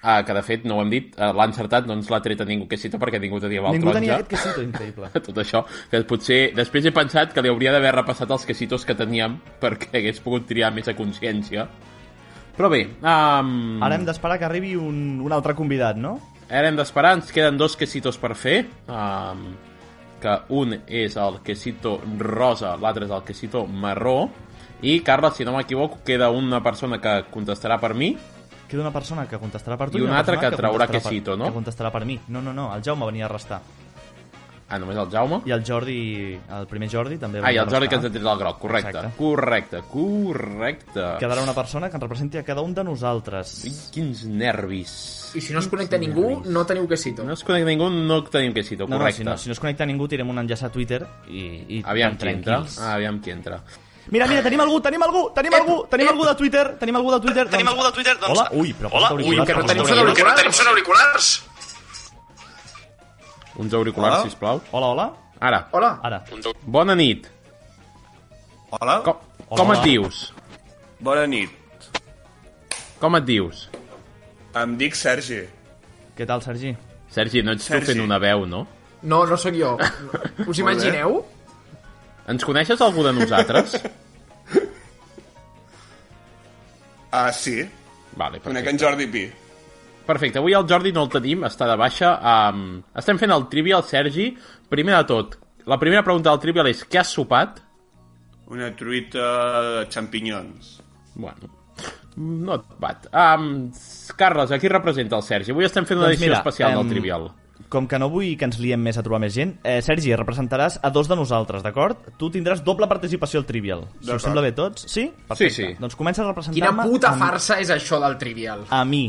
[SPEAKER 2] Ah, que de fet, no ho hem dit, eh, l'ha encertat, no ens l'ha tret a ningú que cita perquè ningú tenia el
[SPEAKER 3] Ningú tenia
[SPEAKER 2] taronja.
[SPEAKER 3] aquest quesito increïble.
[SPEAKER 2] Tot això, que potser... Després he pensat que li hauria d'haver repassat els quesitos que teníem perquè hagués pogut triar més a consciència. Però bé, um...
[SPEAKER 3] Mm. Ara hem d'esperar que arribi un, un altre convidat, no?
[SPEAKER 2] Ara hem d'esperar, ens queden dos quesitos per fer, um, que un és el quesito rosa, l'altre és el quesito marró, i, Carla, si no m'equivoco, queda una persona que contestarà per mi,
[SPEAKER 3] Queda una persona que contestarà per tu
[SPEAKER 2] I una
[SPEAKER 3] una
[SPEAKER 2] altra
[SPEAKER 3] persona
[SPEAKER 2] que traurà
[SPEAKER 3] contestarà per-
[SPEAKER 2] quesito, no?
[SPEAKER 3] Que contestarà per mi. No, no, no, el Jaume venia a restar.
[SPEAKER 2] Ah, només el Jaume?
[SPEAKER 3] I el Jordi, el primer Jordi també
[SPEAKER 2] Ah, i
[SPEAKER 3] venia a
[SPEAKER 2] el Jordi que ens
[SPEAKER 3] restar.
[SPEAKER 2] ha tret el groc, correcte.
[SPEAKER 3] Exacte.
[SPEAKER 2] Correcte, correcte.
[SPEAKER 3] Quedarà una persona que ens representi a cada un de nosaltres.
[SPEAKER 2] Quins nervis.
[SPEAKER 4] I si no es connecta ningú, no teniu que cito.
[SPEAKER 2] No es connecta ningú, no tenim quesito,
[SPEAKER 3] No, no,
[SPEAKER 2] correcte.
[SPEAKER 3] si no, si no es connecta ningú, tirem un enllaç a Twitter i, i
[SPEAKER 2] Aviam qui
[SPEAKER 3] tan
[SPEAKER 2] entra, Ah,
[SPEAKER 3] tranquils.
[SPEAKER 2] aviam qui entra.
[SPEAKER 3] Mira, mira, tenim algú, tenim algú, tenim algú, tenim algú de Twitter, tenim algú de Twitter. Tenim algú de Twitter, doncs... Hola, ui, però
[SPEAKER 2] Hola,
[SPEAKER 3] posa't
[SPEAKER 2] ui, que no
[SPEAKER 3] per
[SPEAKER 2] tenim
[SPEAKER 3] favor.
[SPEAKER 2] sona auriculars.
[SPEAKER 4] Tenim són auriculars?
[SPEAKER 2] Uns auriculars,
[SPEAKER 3] Hola?
[SPEAKER 2] si sisplau.
[SPEAKER 3] Hola, hola.
[SPEAKER 2] Ara.
[SPEAKER 4] Hola.
[SPEAKER 3] Ara.
[SPEAKER 2] Bona nit.
[SPEAKER 18] Hola.
[SPEAKER 2] Com, com
[SPEAKER 18] Hola.
[SPEAKER 2] et dius?
[SPEAKER 18] Bona nit.
[SPEAKER 2] Com et dius?
[SPEAKER 18] Em dic Sergi.
[SPEAKER 3] Què tal, Sergi?
[SPEAKER 2] Sergi, no ets
[SPEAKER 18] Sergi.
[SPEAKER 2] Sergi. tu fent una veu, no?
[SPEAKER 4] No, no sóc jo. Us imagineu?
[SPEAKER 2] Ens coneixes algú de nosaltres?
[SPEAKER 18] Ah, sí.
[SPEAKER 2] Vale,
[SPEAKER 18] Conec
[SPEAKER 2] perfecte.
[SPEAKER 18] en Jordi Pi.
[SPEAKER 2] Perfecte, avui el Jordi no el tenim, està de baixa. Um, estem fent el trivial, Sergi. Primer de tot, la primera pregunta del trivial és què has sopat?
[SPEAKER 18] Una truita de xampinyons.
[SPEAKER 2] Bueno, no et bat. Um, Carles, aquí representa el Sergi. Avui estem fent una edició especial del
[SPEAKER 3] Doncs em,
[SPEAKER 2] trivial.
[SPEAKER 3] Com que no vull que ens liem més a trobar més gent, eh, Sergi, representaràs a dos de nosaltres, d'acord? Tu tindràs doble participació al Trivial. Si us
[SPEAKER 4] D'acord.
[SPEAKER 3] sembla bé a tots? Sí?
[SPEAKER 4] Sí, sí.
[SPEAKER 3] Doncs comença a representar-me...
[SPEAKER 4] Quina puta
[SPEAKER 3] amb-
[SPEAKER 4] farsa és això del Trivial.
[SPEAKER 3] A mi.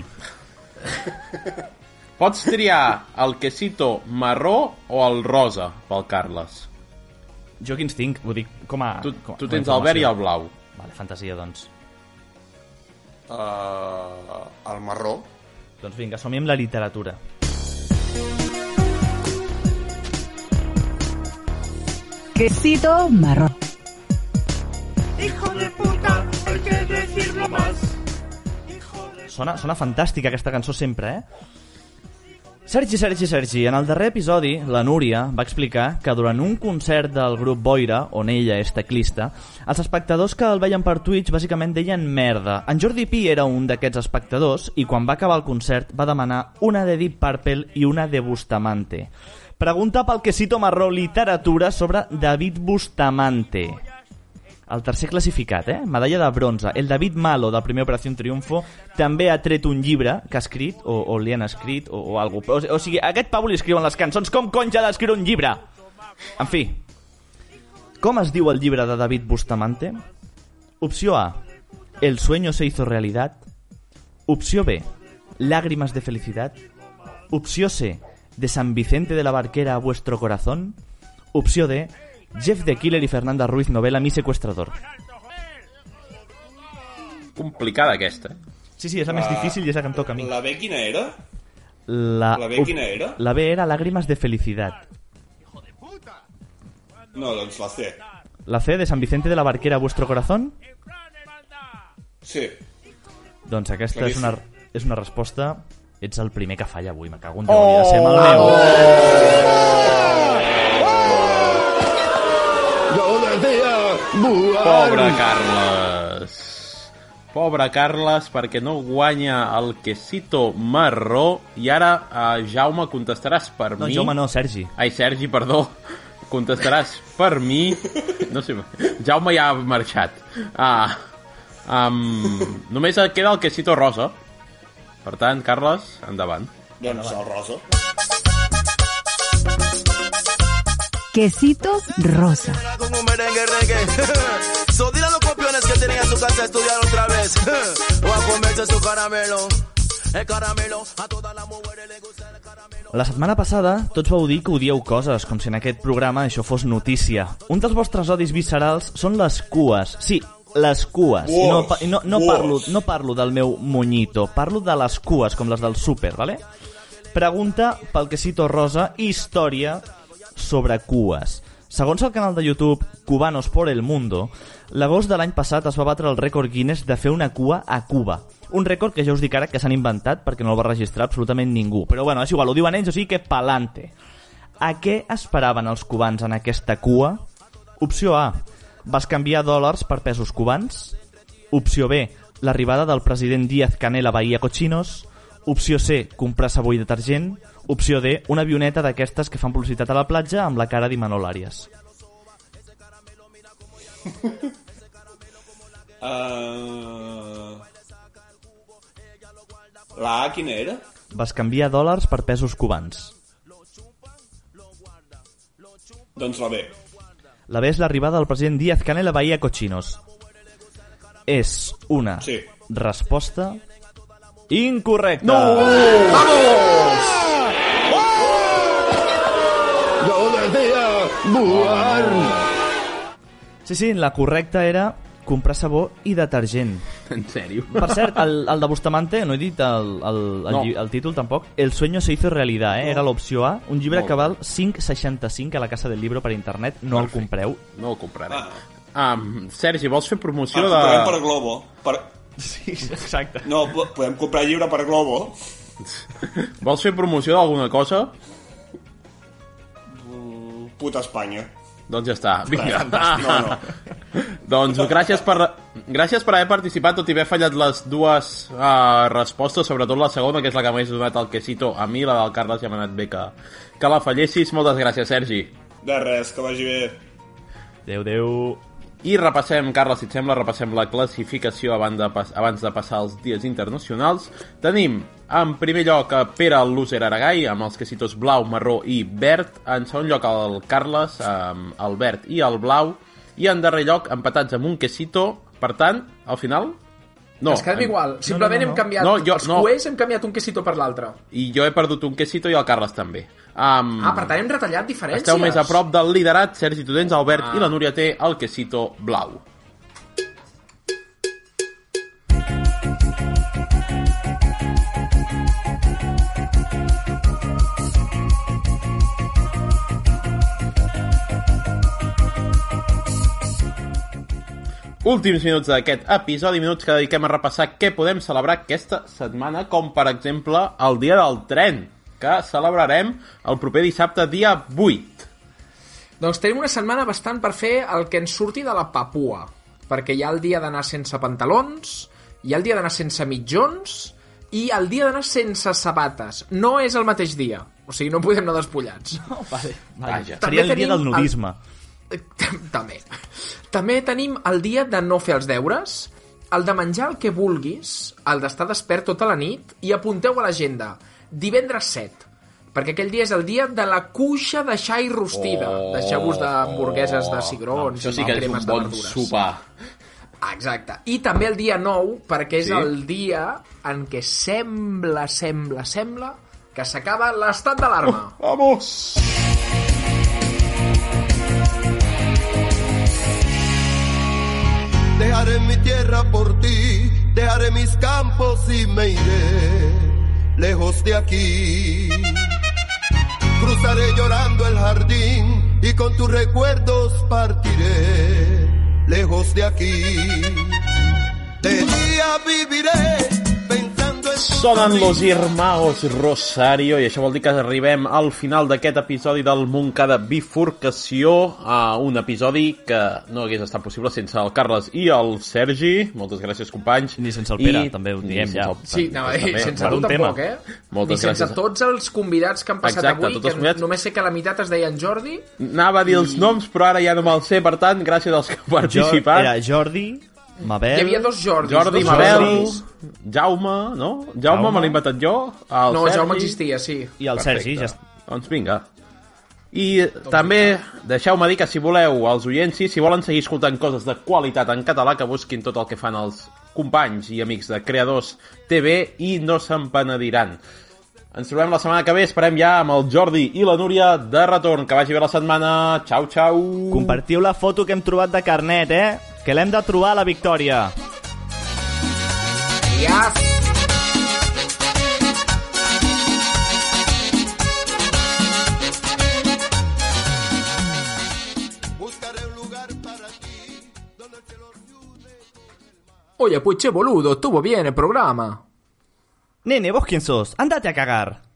[SPEAKER 2] Pots triar el quesito marró o el rosa pel Carles.
[SPEAKER 3] Jo quins tinc? Vull dir, com a...
[SPEAKER 2] Tu-
[SPEAKER 3] Ah, com a
[SPEAKER 2] tu tens el verd i el blau.
[SPEAKER 3] Vale, fantasia, doncs.
[SPEAKER 18] Uh, el marró.
[SPEAKER 3] Doncs vinga, som amb la literatura.
[SPEAKER 16] Quesito marrón.
[SPEAKER 5] Hijo de puta, hay que decirlo más.
[SPEAKER 3] Sona, sona fantàstica aquesta cançó sempre, eh? Sergi, Sergi, Sergi, en el darrer episodi, la Núria va explicar que durant un concert del grup Boira, on ella és teclista, els espectadors que el veien per Twitch bàsicament deien merda. En Jordi Pi era un d'aquests espectadors i quan va acabar el concert va demanar una de Deep Purple i una de Bustamante. Pregunta pel quesito marró literatura sobre David Bustamante. El tercer classificat, eh? Medalla de bronze. El David Malo, del primer Operació Triunfo, també ha tret un llibre que ha escrit, o, o li han escrit, o, o algo. O, o sigui, a aquest pavo li escriuen les cançons. Com cony ja d'escriure un llibre? En fi. Com es diu el llibre de David Bustamante? Opció A. El sueño se hizo realidad. Opció B. Lágrimas de felicidad. Opció C. de San Vicente de la Barquera a vuestro corazón? Opció D, Jeff the Killer y Fernanda Ruiz novela Mi secuestrador.
[SPEAKER 2] Complicada aquesta. eh?
[SPEAKER 3] Sí, sí, és la més
[SPEAKER 2] Ah.
[SPEAKER 3] difícil i és la que em toca a mi.
[SPEAKER 18] La B quina era?
[SPEAKER 3] La,
[SPEAKER 18] ¿La B quina era?
[SPEAKER 3] La B era Lágrimas de Felicidad.
[SPEAKER 18] No, doncs la C.
[SPEAKER 3] La C de San Vicente de la Barquera a vuestro corazón?
[SPEAKER 18] Sí.
[SPEAKER 3] Doncs aquesta és
[SPEAKER 18] Claríssim.
[SPEAKER 3] una, és una resposta... Ets el primer que falla avui, me cago en
[SPEAKER 2] Oh!
[SPEAKER 3] Déu, oh! ser mal meu.
[SPEAKER 2] Pobre Carles. Pobre Carles, perquè no guanya el quesito marró. I ara, eh, Jaume, contestaràs per
[SPEAKER 3] No,
[SPEAKER 2] mi.
[SPEAKER 3] Jaume no, Sergi.
[SPEAKER 2] Ai, Sergi, perdó. Contestaràs per mi. No sé, Jaume ja ha marxat. Ah, um, només et queda el quesito rosa. Per tant, Carles, endavant.
[SPEAKER 18] Doncs el rosa.
[SPEAKER 16] Quesito rosa.
[SPEAKER 19] Con un merengue reggae. So dile a los copiones que tienen en su casa a estudiar otra vez. O a comerse su caramelo. El caramelo a toda la mujer.
[SPEAKER 3] La setmana passada tots vau dir que odieu coses, com si en aquest programa això fos notícia. Un dels vostres odis viscerals són les cues. Sí, les cues. I no, pa- i no, no,
[SPEAKER 20] Uos.
[SPEAKER 3] parlo, no parlo del meu moñito, parlo de les cues, com les del súper, vale? Pregunta pel quesito rosa i història sobre cues. Segons el canal de YouTube Cubanos por el Mundo, l'agost de l'any passat es va batre el rècord Guinness de fer una cua a Cuba. Un rècord que ja us dic ara que s'han inventat perquè no el va registrar absolutament ningú. Però bueno, és igual, ho diuen ells, o sigui que palante. A què esperaven els cubans en aquesta cua? Opció A. Vas canviar dòlars per pesos cubans. Opció B. L'arribada del president Díaz Canel a Bahia Cochinos. Opció C. Comprar sabó i detergent. Opció D. Una avioneta d'aquestes que fan publicitat a la platja amb la cara d'Imanol Arias.
[SPEAKER 18] Uh... La A quina era?
[SPEAKER 3] Vas canviar dòlars per pesos cubans.
[SPEAKER 18] Doncs la B.
[SPEAKER 3] La B és l'arribada del president Díaz Canel a Bahia Cochinos. És una
[SPEAKER 18] Sí.
[SPEAKER 3] resposta incorrecta. No!
[SPEAKER 9] Yo decía
[SPEAKER 3] Sí, sí, la correcta era comprar sabó i detergent.
[SPEAKER 2] En sèrio?
[SPEAKER 3] Per cert, el, el de Bustamante, no he dit el, el, el,
[SPEAKER 2] No.
[SPEAKER 3] lli- el títol tampoc, El sueño se hizo realidad, eh? era l'opció A, un llibre
[SPEAKER 2] Molt
[SPEAKER 3] que val 5,65 a la Casa del Libro per internet, no el compreu.
[SPEAKER 2] No el compraré. Ah. Um, Sergi, vols fer
[SPEAKER 18] Ah,
[SPEAKER 2] promoció
[SPEAKER 18] comprarem
[SPEAKER 2] de...
[SPEAKER 18] per Globo. Per...
[SPEAKER 3] Sí, exacte.
[SPEAKER 18] No, po- podem comprar llibre per Globo.
[SPEAKER 2] Vols fer promoció d'alguna cosa?
[SPEAKER 18] Mm, Puta Espanya.
[SPEAKER 2] Doncs ja està. Vinga.
[SPEAKER 18] No, no.
[SPEAKER 2] doncs gràcies per, gràcies per haver participat, tot i haver fallat les dues uh, respostes, sobretot la segona, que és la que m'has donat el quesito a mi, la del Carles ja m'ha anat bé que, que la fallessis. Moltes gràcies, Sergi.
[SPEAKER 18] De res, que vagi bé.
[SPEAKER 3] Adéu, adéu.
[SPEAKER 2] I repassem, Carles, si et sembla, repassem la classificació abans de, pas abans de passar als dies internacionals. Tenim, en primer lloc, a Pere el Loser Aragai, amb els quesitos blau, marró i verd. En segon lloc, el Carles, amb el verd i el blau. I en darrer lloc, empatats amb un quesito. Per tant, al final...
[SPEAKER 4] No, ens quedem
[SPEAKER 2] em-
[SPEAKER 4] igual. Simplement hem canviat
[SPEAKER 2] No, jo,
[SPEAKER 4] els
[SPEAKER 2] no.
[SPEAKER 4] cuers, hem canviat un quesito per l'altre.
[SPEAKER 2] I jo he perdut un quesito i el Carles també. Um,
[SPEAKER 4] Ah, per tant, hem retallat diferències.
[SPEAKER 2] Esteu més a prop del liderat, Sergi, tu tens Albert ah. i la Núria té el quesito blau. Últims minuts d'aquest episodi, minuts que dediquem a repassar què podem celebrar aquesta setmana, com per exemple el Dia del Tren, que celebrarem el proper dissabte, dia 8.
[SPEAKER 4] Doncs tenim una setmana bastant per fer el que ens surti de la papua, perquè hi ha el dia d'anar sense pantalons, hi ha el dia d'anar sense mitjons i el dia d'anar sense sabates. No és el mateix dia, o sigui, no podem anar despullats. No,
[SPEAKER 3] vale,
[SPEAKER 4] Vaja. També
[SPEAKER 3] Seria el dia
[SPEAKER 4] tenim
[SPEAKER 3] del nudisme.
[SPEAKER 4] També. També tenim el dia de no fer els deures, el de menjar el que vulguis, el d'estar despert tota la nit, i apunteu a l'agenda, divendres 7, perquè aquell dia és el dia de la cuixa de xai rostida,
[SPEAKER 2] Oh,
[SPEAKER 4] oh, deixeu-vos d'hamburgueses de cigrons
[SPEAKER 2] Això sí
[SPEAKER 4] i
[SPEAKER 2] que és
[SPEAKER 4] cremes
[SPEAKER 2] un
[SPEAKER 4] de
[SPEAKER 2] bon
[SPEAKER 4] verdures.
[SPEAKER 2] sopar.
[SPEAKER 4] Exacte. I també el dia 9, perquè és
[SPEAKER 2] Sí?
[SPEAKER 4] sí? el dia en què sembla, sembla, sembla que s'acaba l'estat d'alarma.
[SPEAKER 2] Vamos!
[SPEAKER 14] Dejaré mi tierra por ti, dejaré mis campos y me iré lejos de aquí. Cruzaré llorando el jardín y con tus recuerdos partiré lejos de aquí. De día viviré pensando en tus
[SPEAKER 2] Sonen los Irmãos Rosario i això vol dir que arribem al final d'aquest episodi del Montcada Bifurcació a un episodi que no hagués estat possible sense el Carles i el Sergi. Moltes gràcies, companys.
[SPEAKER 3] Ni sense el Pere, també ho
[SPEAKER 2] ni
[SPEAKER 3] diem
[SPEAKER 2] sense
[SPEAKER 3] ja.
[SPEAKER 2] el-
[SPEAKER 4] Sí, no, i
[SPEAKER 2] també,
[SPEAKER 4] sense
[SPEAKER 2] per
[SPEAKER 4] tu
[SPEAKER 2] un
[SPEAKER 4] tampoc,
[SPEAKER 2] tema.
[SPEAKER 4] eh?
[SPEAKER 2] Moltes
[SPEAKER 4] I sense
[SPEAKER 2] gràcies.
[SPEAKER 4] tots els convidats que han passat
[SPEAKER 2] Exacte,
[SPEAKER 4] avui,
[SPEAKER 2] tots els
[SPEAKER 4] que
[SPEAKER 2] convidats.
[SPEAKER 4] només sé que la meitat es deien Jordi.
[SPEAKER 2] Anava a dir els noms, però ara ja no me'ls sé, per tant, gràcies als que heu participat.
[SPEAKER 3] Era Jordi, Mabel...
[SPEAKER 4] Hi havia dos Jordis.
[SPEAKER 2] Jordi,
[SPEAKER 4] dos
[SPEAKER 2] Mabel,
[SPEAKER 4] Jordis.
[SPEAKER 2] Jaume, no? Jaume, Jaume. me l'he inventat jo, el
[SPEAKER 4] No,
[SPEAKER 2] Sergi...
[SPEAKER 4] Jaume existia, sí.
[SPEAKER 3] I el Sergi, ja està.
[SPEAKER 2] Doncs vinga. I també deixeu-me dir que si voleu, els oients, si volen seguir escoltant coses de qualitat en català, que busquin tot el que fan els companys i amics de Creadors TV i no se'n penediran. Ens trobem la setmana que ve, esperem ja amb el Jordi i la Núria de retorn. Que vagi bé la setmana. Ciao, ciao.
[SPEAKER 3] Compartiu la foto que hem trobat de carnet, eh? Que l'hem de trobar a la victòria.
[SPEAKER 4] Yes! Oye, pues che boludo, estuvo bien el programa.
[SPEAKER 3] Nene, vos quién sos? Andate a cagar.